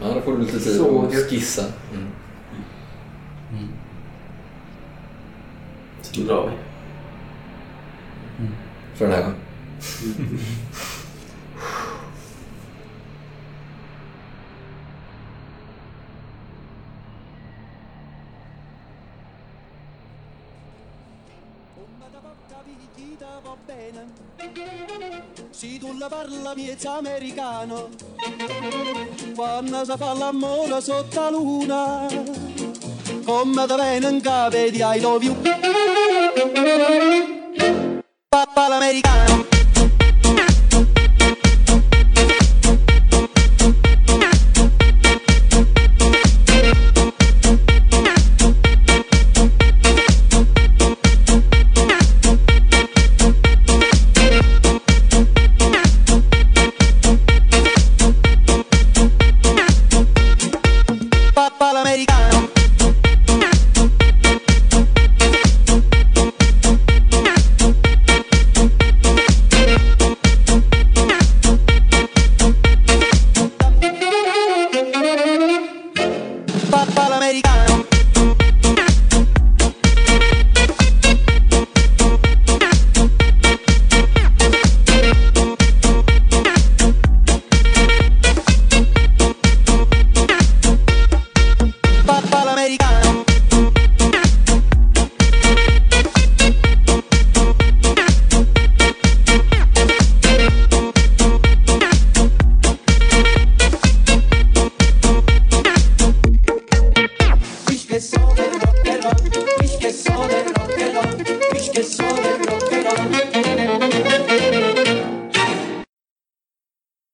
S1: Ja, då får du lite tid
S12: Så
S1: att
S12: gött.
S1: skissa. Mm.
S3: Så drar vi.
S1: För den här gången.
S6: Si tulla parla miezza americano, quando si fa l'amore sotto la luna, come te venga vedi I love you. Papà l'americano. Papà l'americano. Papà l'americano. Papà l'americano. Ich que so de rock and roll, ich que so de rock and roll, ich que so de